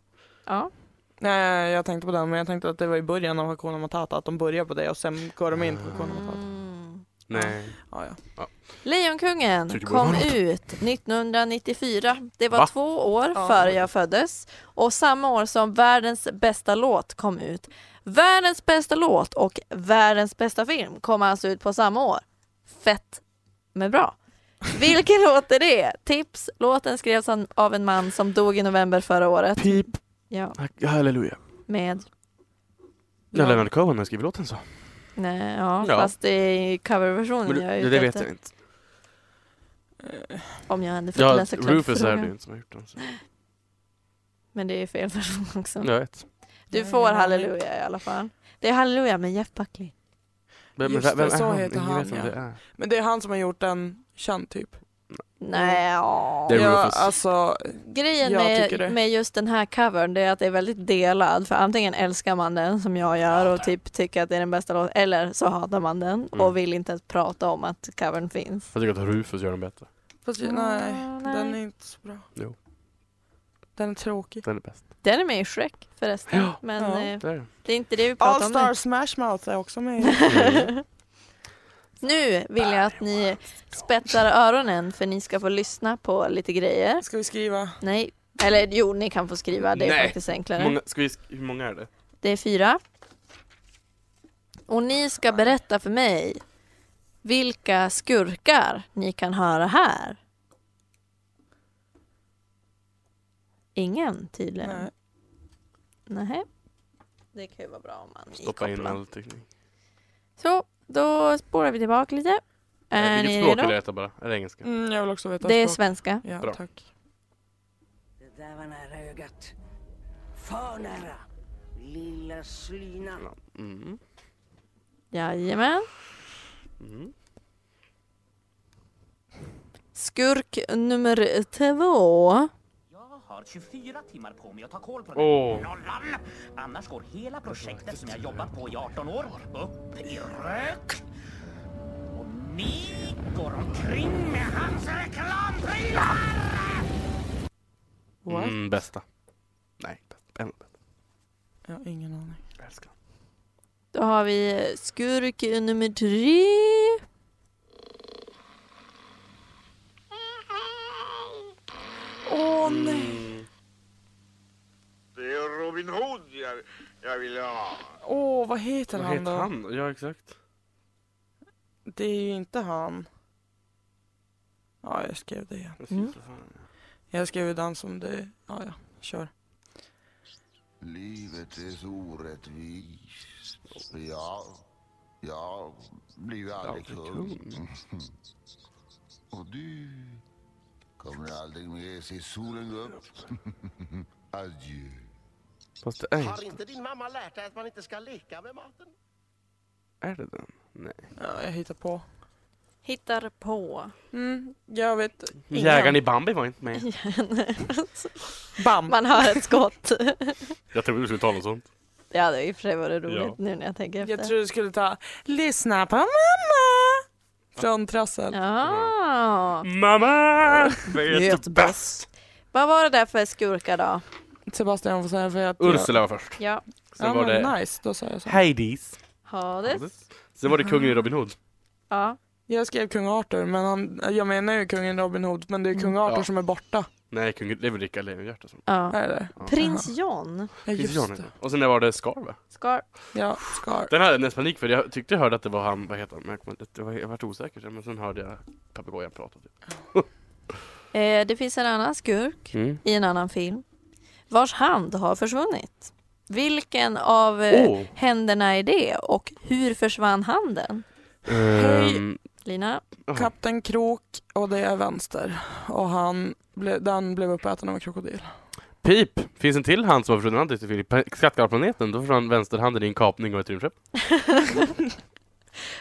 S2: Ja.
S4: Nej, jag tänkte på den, men jag tänkte att det var i början av Hakuna Matata, att de börjar på det och sen går de in på Hakuna
S3: Ah.
S4: Matata.
S2: Mm.
S3: Nej.
S4: Ja, ja.
S2: Lejonkungen
S3: Tycker det borde
S2: kom
S3: vara något.
S2: ut 1994. Det var
S3: Va?
S2: två år
S4: Ja.
S2: före jag föddes och samma år som världens bästa låt kom ut. Världens bästa låt och världens bästa film kom alltså ut på samma år. Fett, men bra. Vilken <laughs> låt är det? Tips! Låten skrevs an- av en man som dog i november förra året.
S3: Pip.
S2: Ja,
S3: Halleluja.
S2: med...
S3: Ja, Leonard Cohen har skrivit låten så.
S2: Nej, ja,
S3: Ja.
S2: fast det är coverversionen jag är ute
S3: det vet
S2: efter.
S3: jag inte.
S4: Eh,
S2: Om jag hade fått
S3: Ja,
S2: läsa klart
S3: Rufus är
S2: frågan.
S3: det ju inte som har gjort den. Så.
S2: Men det är fel person <laughs> också.
S3: Jag vet.
S2: Du
S4: Nej,
S2: får
S4: nej,
S2: halleluja i alla fall. Det är halleluja med Jeff Buckley.
S3: Vem,
S4: Just
S3: vem
S4: det,
S3: är
S4: så
S3: han?
S4: heter
S3: Ingen
S4: han,
S3: vet vem
S4: ja.
S3: det är.
S4: Men det är han som har gjort den känd typ.
S2: Nej, ja.
S3: Det är
S4: ja,
S3: Rufus.
S4: alltså,
S2: Mm. Grejen
S4: jag tycker det.
S2: med, med just den här covern det är att det är väldigt delad. För antingen älskar man den som jag gör och typ tycker att det är den bästa låten. Eller så hatar man den
S3: Mm.
S2: och vill inte ens prata om att covern finns.
S3: Jag tycker att Rufus gör den bättre.
S4: fast, nej,
S2: Mm, nej.
S4: den är inte så bra.
S3: Jo.
S4: Den är tråkig.
S3: Den är bäst.
S2: Den är med i Shrek förresten.
S3: Ja.
S2: Men
S4: Ja.
S2: eh,
S3: Det är den.
S2: det är inte det vi pratar
S4: All
S2: om nu.
S4: Star Smash Mouth är också med.
S2: Nu vill jag att ni spetsar öronen för ni ska få lyssna på lite grejer.
S4: <laughs> Ska vi skriva?
S2: Nej, eller jo, ni kan få skriva. Det är
S3: Nej.
S2: faktiskt enklare.
S3: Många, ska vi, sk- hur många är det?
S2: Det är fyra. Och ni ska berätta för mig vilka skurkar ni kan höra här. Ingen tydligen.
S4: Nej.
S2: Nähä. Det kan ju vara bra om man
S3: Stoppa in
S2: kopplar.
S3: all teknik.
S2: Så, då spårar vi tillbaka lite. Är
S3: Eh,
S2: ni
S3: Vilket språk
S2: redo?
S3: vill jag veta bara? Är det engelska?
S4: Mm, jag vill också veta.
S2: Det är
S4: språk.
S2: svenska.
S4: Ja,
S3: Bra.
S4: tack.
S9: Det där var nära ögat. För nära. Lilla slyna.
S3: Mm.
S2: Jajamän.
S3: Mm.
S2: Skurk nummer två.
S5: Jag har 24 timmar på mig att ta koll på
S3: Åh.
S5: den här nollan. Annars går hela projektet som jag jobbat på i 18 år upp i rök. Och ni går omkring med hans reklamprylar!
S4: What?
S3: Mm, bästa. Nej, bästa. En bästa.
S4: Jag har ingen aning.
S3: Jag älskar den.
S2: Då har vi skurk nummer tre.
S4: Åh nej!
S3: Mm.
S10: Det är Robin Hood jag, jag vill ha.
S4: Åh, vad heter
S3: Vad
S4: han
S3: heter
S4: då?
S3: han? Ja, exakt.
S4: Det är ju inte han. Ja, jag skrev det igen.
S3: Jag skrev
S1: Mm.
S3: för fan.
S4: Jag skrev ju den som du... Ja, ja. Kör.
S11: Livet är så orättvist. Jag, jag blir ju aldrig
S3: Aldrig
S11: kung. <laughs> Och du kommer aldrig mer se solen gå upp. <laughs> Adjö.
S3: Fast det är
S12: Har
S3: inte...
S12: inte din mamma lärt dig att man inte ska leka med maten?
S3: Är det den? Nej.
S4: Ja, jag hittar på.
S2: Hittar på.
S4: Mm, jag vet.
S2: Ingen.
S3: Jägaren i Bambi var inte med.
S4: Bam!
S2: <laughs> Man hör ett skott.
S3: Jag trodde du skulle ta något sånt.
S2: Det hade i och för sig varit roligt
S3: Ja.
S2: nu när jag tänker efter.
S4: Jag tror du skulle ta Lyssna på mamma! Från Trassel.
S3: Mm.
S2: Ja.
S3: Mamma!
S4: Vet
S3: bäst!
S2: Vad var det där för skurkar då?
S4: Sebastian får säga för jag...
S3: Ursula var först.
S2: Ja.
S3: Sen
S4: ja,
S3: var
S4: men
S3: det
S4: nice, Ah. då sa jag så.
S3: Hades.
S2: Hades.
S3: Sen var det kungen i Robin Hood.
S2: Ja.
S4: Jag skrev kung Arthur, men han, jag menar ju kungen Robin Hood, men det är kung Arthur
S3: Ja.
S4: som är borta.
S3: Nej, kungen, det är väl Rickard Lejonhjärta som...
S2: ja.
S4: Är det?
S3: Ja.
S2: Prins John.
S4: Ja,
S3: Prins
S4: just
S3: Johnny.
S4: det.
S3: Och sen var det Scar va?
S2: Scar.
S4: Ja, Scar.
S3: Den hade jag nästan panik för, jag tyckte jag hörde att det var han, vad heter han? Men jag, kom, det var, jag vart osäker sen, men sen hörde jag papegojan prata typ.
S2: Eh, det finns en annan skurk
S3: Mm.
S2: i en annan film vars hand har försvunnit. Vilken av eh,
S3: Oh.
S2: händerna är det och hur försvann handen?
S4: Hej.
S3: Ehm,
S2: Lina? <laughs>
S3: jaha.
S4: Kapten Krok och det är vänster. Och han ble, den blev uppäten av en krokodil.
S3: Pip! Finns en till hand som har försvunnit, han tyckte Filip. På Skattkarlplaneten, då försvann vänsterhanden i en kapning och ett rymdskepp.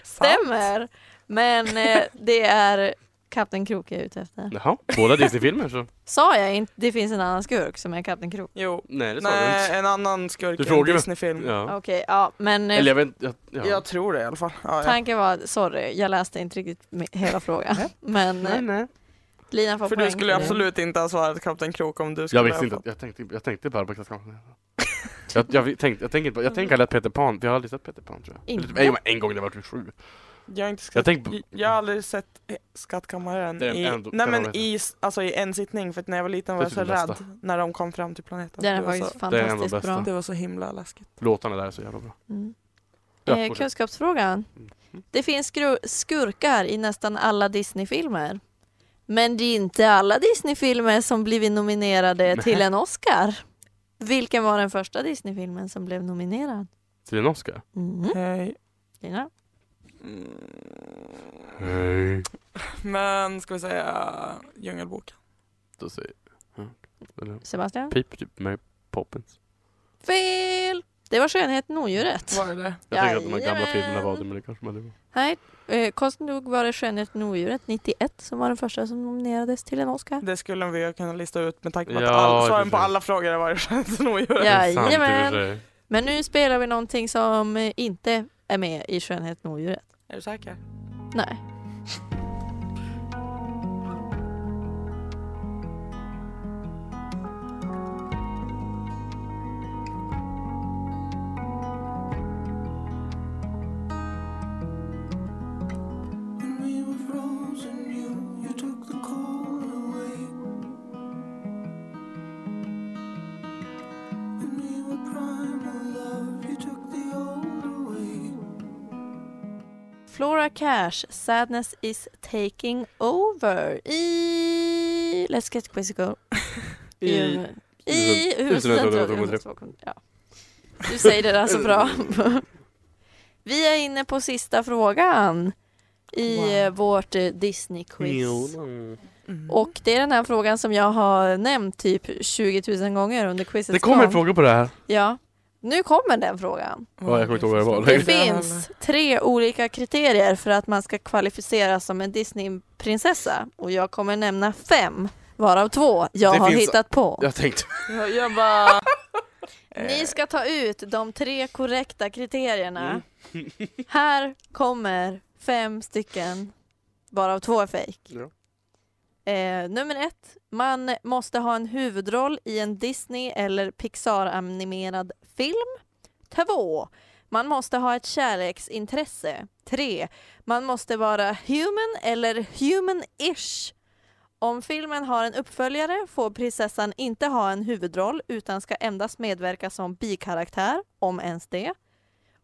S2: Stämmer! Men eh, det är Kapten Krok jag är ute efter.
S3: Jaha, båda Disney-filmer så.
S2: Sa jag inte det finns en annan skurk som är Kapten Krok?
S4: Jo.
S3: Nej, det sa du
S4: Nej,
S3: inte.
S4: en annan skurk
S3: Du
S4: i en
S3: frågar ju-
S4: Disney-film.
S3: Ja.
S2: Okej, ja men eh,
S3: Eller jag vet inte, jag- ja.
S4: Jag tror det i alla fall. Ja, ja.
S2: tanken var, sorry, jag läste inte riktigt me- hela frågan. men eh,
S3: Nej, nej.
S2: Lina får
S4: För
S2: poäng
S4: du skulle
S2: för det.
S4: absolut inte ha svarat Kapten Krok om du skulle
S3: Jag visste
S4: ha
S3: inte, att-
S4: fått-
S3: jag tänkte, jag tänkte bara på Skattkarlplaneten. Jag, jag, tänkte, jag tänker inte på- jag tänker aldrig att Peter Pan, för jag har aldrig sett Peter Pan tror jag. Eller typ,
S2: Inte?
S3: jo, men en gång när jag var typ sju.
S4: Jag har, inte
S3: Jag
S4: skatt...
S3: tänkte på-
S4: jag har aldrig sett eh, Skattkammaren
S3: Det är den
S4: i,
S3: ändå-
S4: nej,
S3: den
S4: men
S3: har jag
S4: i, s- alltså, i en sittning för att när jag var liten var
S3: Det
S4: jag
S3: är
S4: så
S3: typ det
S4: rädd när de kom fram till planeten.
S2: Den är
S4: det, var så,
S2: faktiskt
S3: det är en av de
S2: fantastiskt
S3: bästa.
S2: bra.
S4: det var så himla läskigt.
S3: Låtarna där är så jävla bra.
S2: Mm.
S3: Ja,
S2: eh,
S3: fortsätt. Mm.
S2: kunskapsfrågan. Det finns skru- skurkar i nästan alla Disney-filmer. Men det är inte alla Disney-filmer som blivit nominerade
S3: Nej.
S2: till en Oscar. Vilken var den första Disney-filmen som blev nominerad?
S3: Till en Oscar?
S2: Mm.
S4: Hej.
S2: Lina?
S4: Eh, Mm.
S3: Hej.
S4: Men ska vi säga Djungelboken?
S3: Då säger ja. Eller
S2: Sebastian?
S3: Pip, typ Mary Poppins.
S2: Fel! Det var Skönheten och odjuret.
S4: Var det det?
S3: Jag tänker att de här gamla
S2: Jajamän.
S3: filmerna var det, men det kanske man aldrig var.
S2: Nej, eh, konstigt nog var det Skönheten och odjuret 91 som var den första som nominerades till en Oscar.
S4: Det skulle vi ha kunnat lista ut med tanke på att
S3: Ja,
S4: all,
S3: i och
S4: svaren
S3: för
S4: på
S3: sig.
S4: alla frågor har varit Skönheten och odjuret.
S2: Jajamän.
S3: Sant i och för sig.
S2: Men nu spelar vi någonting som eh, inte är med i Skönheten och odjuret.
S4: Är du säker?
S2: Nej. Flora Cash, Sadness is taking over i Let's Get Quizzical. I, i huvudstaden. Ja. Du säger det där så bra. <laughs> Vi är inne på sista frågan i
S4: Wow.
S2: eh, vårt eh, Disney-quiz.
S4: Mm.
S2: Och det är den här frågan som jag har nämnt typ 20 000 gånger under quizets
S3: Det kommer
S2: gång.
S3: frågor på det här.
S2: Ja. Nu kommer den frågan.
S3: Ja, jag kommer inte ihåg vad det var.
S2: Det
S3: Lägg-
S2: finns tre olika kriterier för att man ska kvalificeras som en Disneyprinsessa och jag kommer nämna fem, varav två jag
S3: Det
S2: har
S3: finns-
S2: hittat på.
S3: Jag tänkte...
S4: Jag, jag bara...
S2: <laughs>
S4: Eh,
S3: Eh.
S2: Ni ska ta ut de tre korrekta kriterierna.
S3: Mm.
S2: <laughs>
S3: <laughs>
S2: Här kommer fem stycken, varav två är fejk.
S3: Ja.
S2: Eh, nummer ett, man måste ha en huvudroll i en Disney eller Pixar-animerad film. Två, man måste ha ett kärleksintresse. Tre, man måste vara human eller human-ish. Om filmen har en uppföljare får prinsessan inte ha en huvudroll utan ska endast medverka som bikaraktär, om ens det.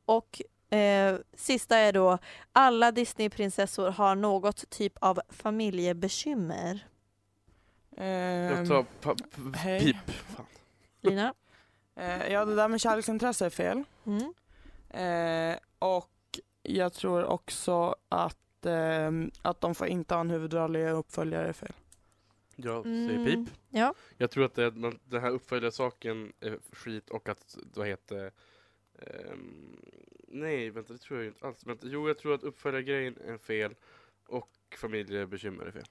S2: Och Eh, sista är då, alla Disneyprinsessor har något typ av familjebekymmer.
S3: Jag tar pa-
S4: ehm, hej.
S3: pip. Fan.
S2: Lina?
S4: Eh, ja, det där med kärleksintresse är fel.
S2: Mm.
S4: Eh, och jag tror också att, ehm, att de får inte ha en huvudroll i uppföljare är fel.
S3: Jag
S2: Mm,
S3: säger pip.
S2: ja.
S3: Jag tror att det, man, den här uppföljarsaken är skit och att, vad heter ehm, Nej, vänta det tror jag ju inte alls. Vänta, jo, jag tror att uppföljargrejen är fel och familjebekymmer är fel.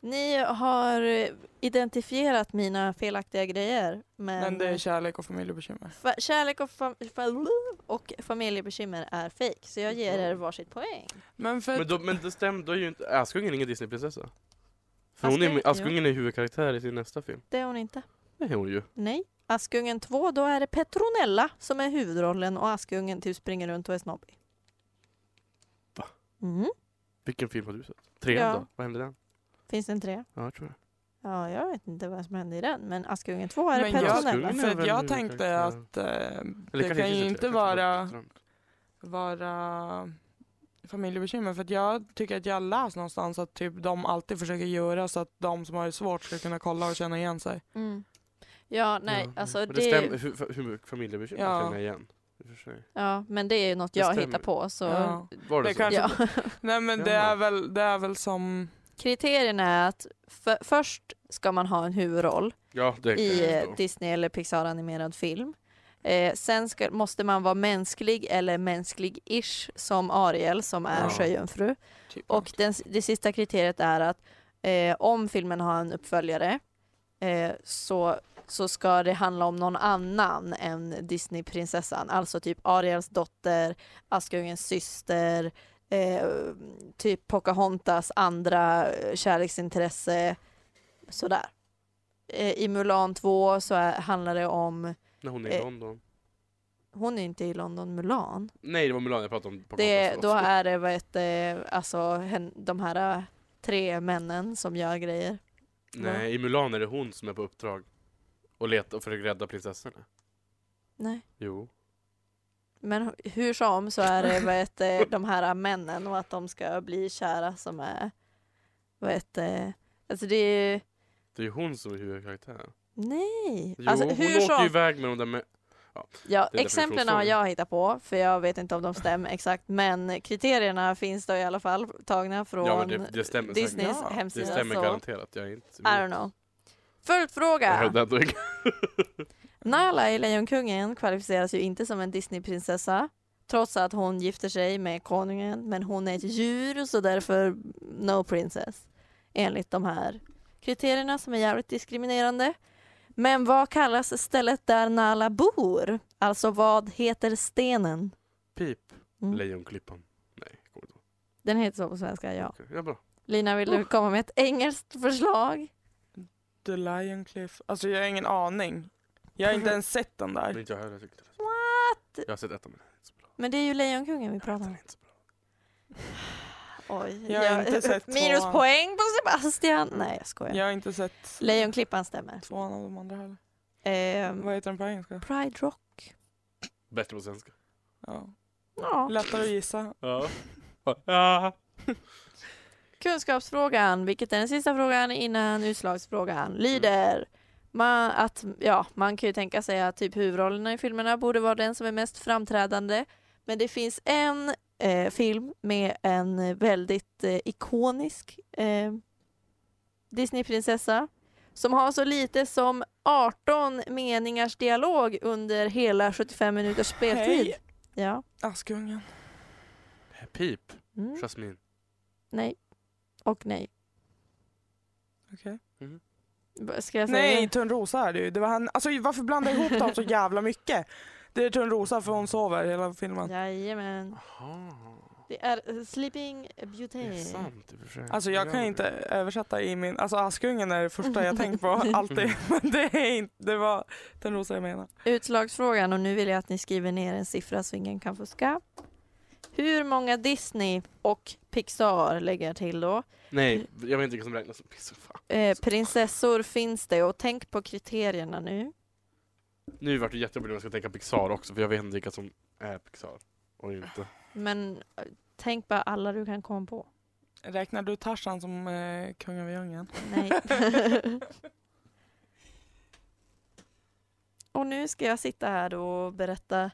S2: Ni har eh, identifierat mina felaktiga grejer. Men, eh,
S4: Men det är kärlek och familjebekymmer.
S2: fa- kärlek och, fam- fa- och familjebekymmer är fake. Så jag ger er varsitt poäng.
S4: Men, för
S3: Men, då, men det stämde ju inte, Askungen är ingen Disneyprinsessa. För hon är, med- Askungen är huvudkaraktär i sin nästa film.
S2: Det är hon inte.
S3: Det är hon ju.
S2: Nej. Askungen 2, då är det Petronella som är huvudrollen och Askungen typ springer runt och är snobbig.
S3: Va?
S2: Mm.
S3: Vilken film har du sett? Trean
S2: Ja.
S3: då? Vad hände i den?
S2: Finns det en tre?
S3: Ja, jag tror det.
S2: Ja, jag vet inte vad som hände i den, men Askungen 2 är det
S4: Men jag,
S2: Petronella.
S3: Askungen är
S4: för
S3: väl
S4: jag tänkte
S3: huvudkaraktär.
S4: att eh,
S3: Eller
S4: det
S3: kanske
S4: kan ju
S3: inte
S4: inte
S3: det, kanske
S4: vara,
S3: Ström.
S4: vara familjebekymmer för att jag tycker att jag läst någonstans att typ de alltid försöker göra så att de som har det svårt ska kunna kolla och känna igen sig.
S2: Mm. Ja, nej,
S3: Ja,
S2: alltså
S3: men
S2: det...
S3: det stämmer, hur, fa- hur familjebekymmer
S4: Ja.
S3: känner jag igen. I och för sig.
S2: Ja, men det är ju något
S3: Det
S2: jag
S3: stämmer.
S2: hittar på. Så...
S4: Ja.
S3: Var det,
S4: Det
S3: så?
S4: kanske-
S2: Ja. <laughs>
S4: Nej men det
S3: Ja.
S4: är väl, det är väl som
S2: Kriterierna är att för, först ska man ha en huvudroll
S3: Ja, det kan
S2: i
S3: jag
S2: eh,
S3: förstå.
S2: Disney eller Pixar-animerad film. Eh, sen ska, måste man vara mänsklig eller mänsklig-ish som Ariel som är
S4: Ja.
S2: sjöjungfru.
S4: typ
S2: Och den, det sista kriteriet är att eh, om filmen har en uppföljare eh, så, så ska det handla om någon annan än Disneyprinsessan. Alltså typ Ariels dotter, Askungens syster, eh, typ Pocahontas andra eh, kärleksintresse. Sådär. Eh, I Mulan 2 så är, handlar det om,
S3: När hon är i
S2: eh,
S3: London.
S2: hon är inte i London, Mulan.
S3: Nej, det var Mulan jag pratade om. på
S2: Det,
S3: Pocahontas.
S2: då är det vad heter, alltså hen, de här äh, tre männen som gör grejer.
S3: Nej, i Mulan är det hon som är på uppdrag. Och letar och försöker rädda prinsessorna.
S2: Nej.
S3: Jo.
S2: Men hur som så är det vad heter, de här äh, männen och att de ska bli kära som är vad heter, alltså det är ju,
S3: Det är ju hon som är huvudkaraktären.
S2: nej.
S3: Jo,
S2: alltså,
S3: hon
S2: hur
S3: åker ju
S2: som,
S3: iväg med de där med... Ja,
S2: ja,
S3: det är
S2: exemplen har
S3: definitionsfråga.
S2: jag hittat på för jag vet inte om de stämmer exakt men kriterierna finns då i alla fall tagna från
S3: ja men det, det stämmer säkert.
S2: Disneys
S4: Ja,
S3: Det
S4: det
S2: hemsida.
S3: stämmer
S2: så,
S3: garanterat. Jag är inte...
S2: I don't know. Följdfråga!
S3: Jag hävdar ändå inte.
S2: Nala i Lejonkungen kvalificeras ju inte som en Disneyprinsessa trots att hon gifter sig med konungen men hon är ett djur så därför no princess enligt de här kriterierna som är jävligt diskriminerande. Men vad kallas stället där Nala bor? Alltså vad heter stenen?
S3: Pip.
S2: Mm.
S3: Lejonklippan. Nej, jag kommer inte ihåg.
S2: Den heter så på svenska, ja.
S3: Okej, Ja, bra.
S2: Lina, vill du komma med ett engelskt förslag?
S4: The Lion Cliff. Alltså jag har ingen aning. Jag har inte ens sett den
S3: Men
S2: <laughs>
S4: där.
S3: inte jag heller. Jag tyckte det.
S2: What?
S3: Jag har sett ett av mina. Det är inte så bra.
S2: Men det är ju Lejonkungen vi pratar
S3: Den
S2: om.
S3: är inte så bra.
S2: Oj,
S4: Jag har
S2: <laughs>
S4: inte sett
S2: minuspoäng på Sebastian! Nej, jag skojar.
S4: Jag har inte sett
S2: Lejonklippan stämmer.
S4: tvåan av de andra heller.
S2: Ehm,
S4: Vad heter den på engelska?
S2: Pride Rock.
S3: Bättre på svenska.
S4: Ja.
S2: Ja.
S4: Lättare att gissa.
S3: Ja.
S4: Ah.
S3: Ja.
S2: Kunskapsfrågan, vilket är den sista frågan innan utslagsfrågan, lyder man, att, ja, man kan ju tänka sig att typ huvudrollerna i filmerna borde vara den som är mest framträdande. Men det finns en eh, film med en väldigt eh, ikonisk eh, Disneyprinsessa som har så lite som 18 meningars dialog under hela 75 minuters speltid.
S4: Hej.
S2: Ja.
S4: Askungen.
S3: Pip.
S2: Mm.
S3: Jasmine.
S2: Nej. Och nej.
S4: Okej.
S3: Mhm.
S2: B- Ska jag säga
S4: Nej, Törnrosa är det ju. Det var han. Alltså varför blandar jag
S2: <laughs>
S4: ihop dem så jävla mycket? Det är Törnrosa för hon sover hela filmen.
S2: Jajamän.
S3: Jaha.
S2: Det är eh, Sleeping Beauty.
S3: Det är sant i och för sig.
S4: Alltså jag kan
S3: Ja,
S4: ju inte översätta i min, alltså Askungen är det första
S2: <laughs>
S4: jag tänkt på alltid.
S3: Mm.
S4: Men det är inte, det var Törnrosa jag menar.
S2: Utslagsfrågan och nu vill jag att ni skriver ner en siffra så ingen kan fuska. Hur många Disney och Pixar lägger jag till då?
S3: Nej, jag vet inte vilka som räknas som pizza. Fan.
S2: Eh, prinsessor finns det och tänk på kriterierna nu.
S3: Nu vart det jättejobbigt om jag ska tänka Pixar också, för jag vet inte vilka som är Pixar. Och inte.
S2: Men eh, tänk bara alla du kan komma på.
S4: Räknar du Tarzan som eh, kung över djungeln?
S2: Nej. <laughs> och nu ska jag sitta här då och berätta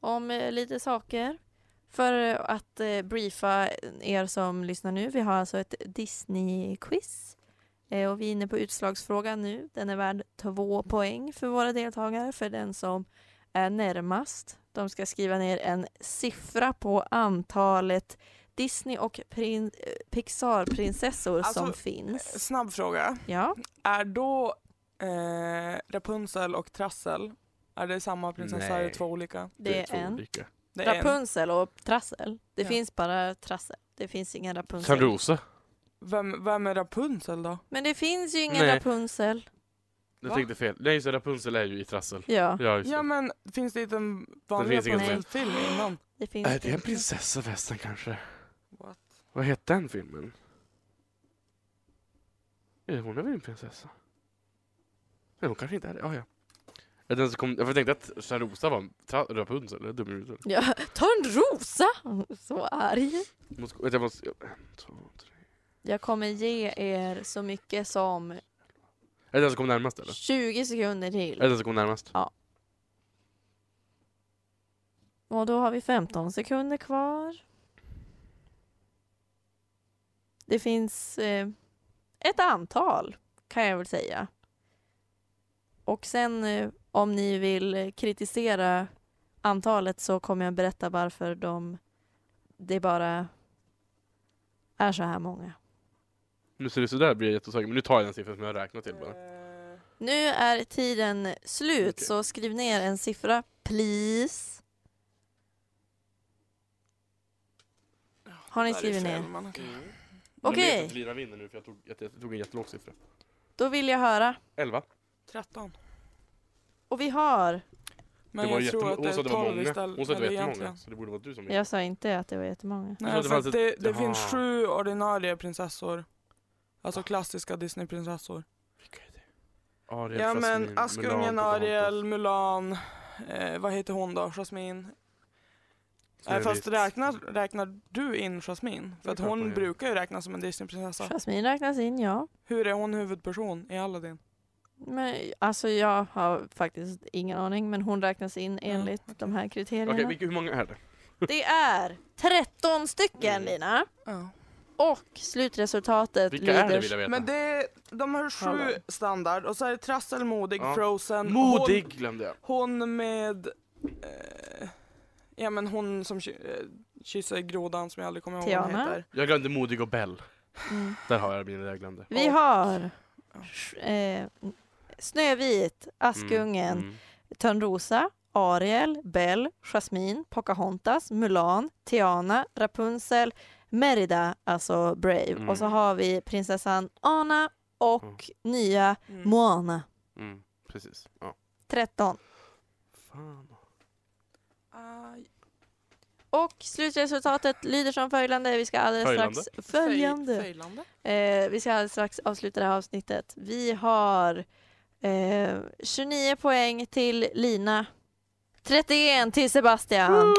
S2: om eh, lite saker. För att eh, briefa er som lyssnar nu, vi har alltså ett Disney-quiz. Eh, och vi är inne på utslagsfrågan nu. Den är värd två poäng för våra deltagare, för den som är närmast. De ska skriva ner en siffra på antalet Disney och prin- eh, Pixar-prinsessor som finns.
S4: Snabb fråga.
S2: Ja.
S4: Är då eh, Rapunzel och Trassel, är det samma prinsessa? Är det
S3: Nej.
S4: två olika?
S2: Det är en.
S4: Det är en.
S2: Rapunzel och Trassel. Det
S4: Ja.
S2: finns bara Trassel. Det finns ingen Rapunzel.
S3: Törnrosa.
S4: Vem, vem är Rapunzel då?
S2: Men det finns ju ingen
S3: Nej.
S2: Rapunzel.
S3: Jag
S4: Va?
S3: tänkte fel. Nej, så Rapunzel är ju i trassel.
S2: Ja.
S3: ja, just det.
S4: Ja men finns det inte en
S3: Det
S4: vanlig
S3: finns inget som
S4: Rapunzel-film innan?
S2: Det finns
S3: Är Äh, det en prinsessa västen kanske?
S4: What?
S3: Vad hette den filmen? Eh, Hon är väl en prinsessa? Nej, hon kanske inte är det. Ah, ja. Är det den som kom... Jag tänkte att Törnrosa var en tra... Rapunzel. Jag är dum i huvudet.
S2: Ja. <laughs> Törnrosa! Så arg.
S3: Måste- vänta, Jag måste... En, två, tre.
S2: Jag kommer ge er så mycket som
S3: Är det den som kom närmast eller?
S2: 20 sekunder
S3: Är det
S2: till.
S3: den som kom närmast?
S2: Ja. Och då har vi 15 sekunder kvar. Det finns eh, ett antal kan jag väl säga. Och sen eh, om ni vill eh, kritisera antalet så kommer jag berätta varför de, det bara är så här många.
S3: Nu ser det sådär blir jag jätteosäker. Men nu tar jag den siffran som jag har räknat
S4: Eh,
S3: till bara.
S2: Nu är tiden slut så skriv ner en siffra please. Har ni
S4: Där är
S2: skrivit
S4: fel,
S2: ner?
S4: men okej.
S3: Jag
S2: Okej,
S3: Mm. vet att Lina vinner nu för jag tog, jag, jag tog en jättelåg siffra.
S2: då vill jag höra.
S3: 11.
S4: 13.
S2: Och vi har...
S4: Men
S3: det var
S4: jag tror
S3: jättemånga. Hon
S4: att
S3: sa att
S4: det är
S3: det var
S4: 12
S3: många.
S4: istället.
S3: Hon sa att det var
S4: eller
S3: jättemånga.
S4: egentligen.
S3: Så det borde vara du som
S2: Jag sa inte att det var jättemånga.
S3: Jag
S4: Nej,
S3: trodde
S4: för
S3: det
S4: att
S3: fanns
S4: det,
S3: ett-
S4: det finns
S3: Jaha.
S4: sju ordinarie prinsessor. Alltså klassiska Disney-prinsessor.
S3: Ariel,
S4: Ja
S3: Jasmine,
S4: men Askungen,
S3: Mulan,
S4: Ariel, Pocahontas. Mulan, eh, vad heter hon då? Jasmine? Eh, fast
S3: Snövit.
S4: räknar, räknar du in Jasmine? För att
S3: klart hon
S4: hon
S3: gör.
S4: brukar ju räknas som en Disney-prinsessa.
S2: Jasmine räknas in, ja.
S4: Hur är hon huvudperson i Aladdin?
S2: Men, alltså jag har faktiskt ingen aning, men hon räknas in enligt de här kriterierna.
S3: Mm, Okej, vilka- hur många är det?
S2: Det är 13
S3: Mm.
S2: stycken, Lina. Och slutresultatet
S3: Vilka är det, vill jag veta?
S4: Men det är, de har sju
S3: Hallå.
S4: standard och så är det Trassel, Modig,
S3: Ja.
S4: Frozen.
S3: Modig
S4: Hon,
S3: glömde jag.
S4: hon med... Eh, ja men hon som ky, eh, kysser grodan som jag aldrig kommer ihåg vad hon
S2: Tiana.
S4: heter.
S3: Jag glömde Modig och Bell.
S2: Mm.
S3: Där har jag mina jag glömde.
S2: Vi har eh, Snövit, Askungen,
S3: Mm, mm.
S2: Törnrosa, Ariel, Bell, Jasmine, Pocahontas, Mulan, Tiana, Rapunzel, Merida, alltså Brave.
S3: Mm.
S2: Och så har vi prinsessan Anna och nya Moana.
S3: Mm, precis. Ja.
S2: 13.
S3: Fan.
S2: Ah, Och slutresultatet lyder som följande. Vi ska alldeles strax... Följande.
S4: Följande.
S2: Eh, vi ska alldeles strax avsluta det här avsnittet. Vi har eh, 29 poäng till Lina. 31 till Sebastian. Mm.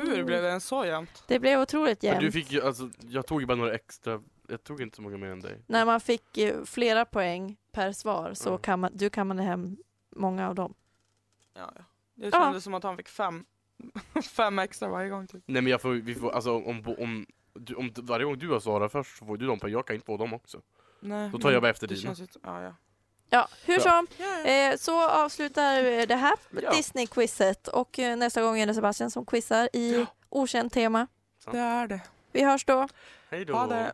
S4: Hur blev det ens så jämnt?
S2: Det blev otroligt
S3: Men du
S2: jämnt.
S3: fick ju, alltså, jag tog ju bara några extra. Jag tog inte så många mer än dig.
S2: När man fick eh, flera poäng per svar så
S3: Ja.
S2: kan man, du kammade hem många av dem.
S4: Ja, ja. Det
S2: Ja.
S4: kändes som att han fick fem, <laughs> fem extra varje gång typ.
S3: Nej men jag får, vi får alltså om, om, om, du- om varje gång du har svarat först så får du dem på, jag kan inte få dem också.
S4: Nej,
S3: Då tar
S4: men
S3: jag bara efter
S4: det
S3: dina.
S4: känns inte- ja, ja.
S2: Ja, hur
S3: Ja.
S2: som. Eh, så avslutar eh, det här Disney-quizet och eh, nästa gång är det Sebastian som quizar i okänt tema.
S4: Det är det.
S2: Vi hörs då.
S3: Hej
S4: Ha det.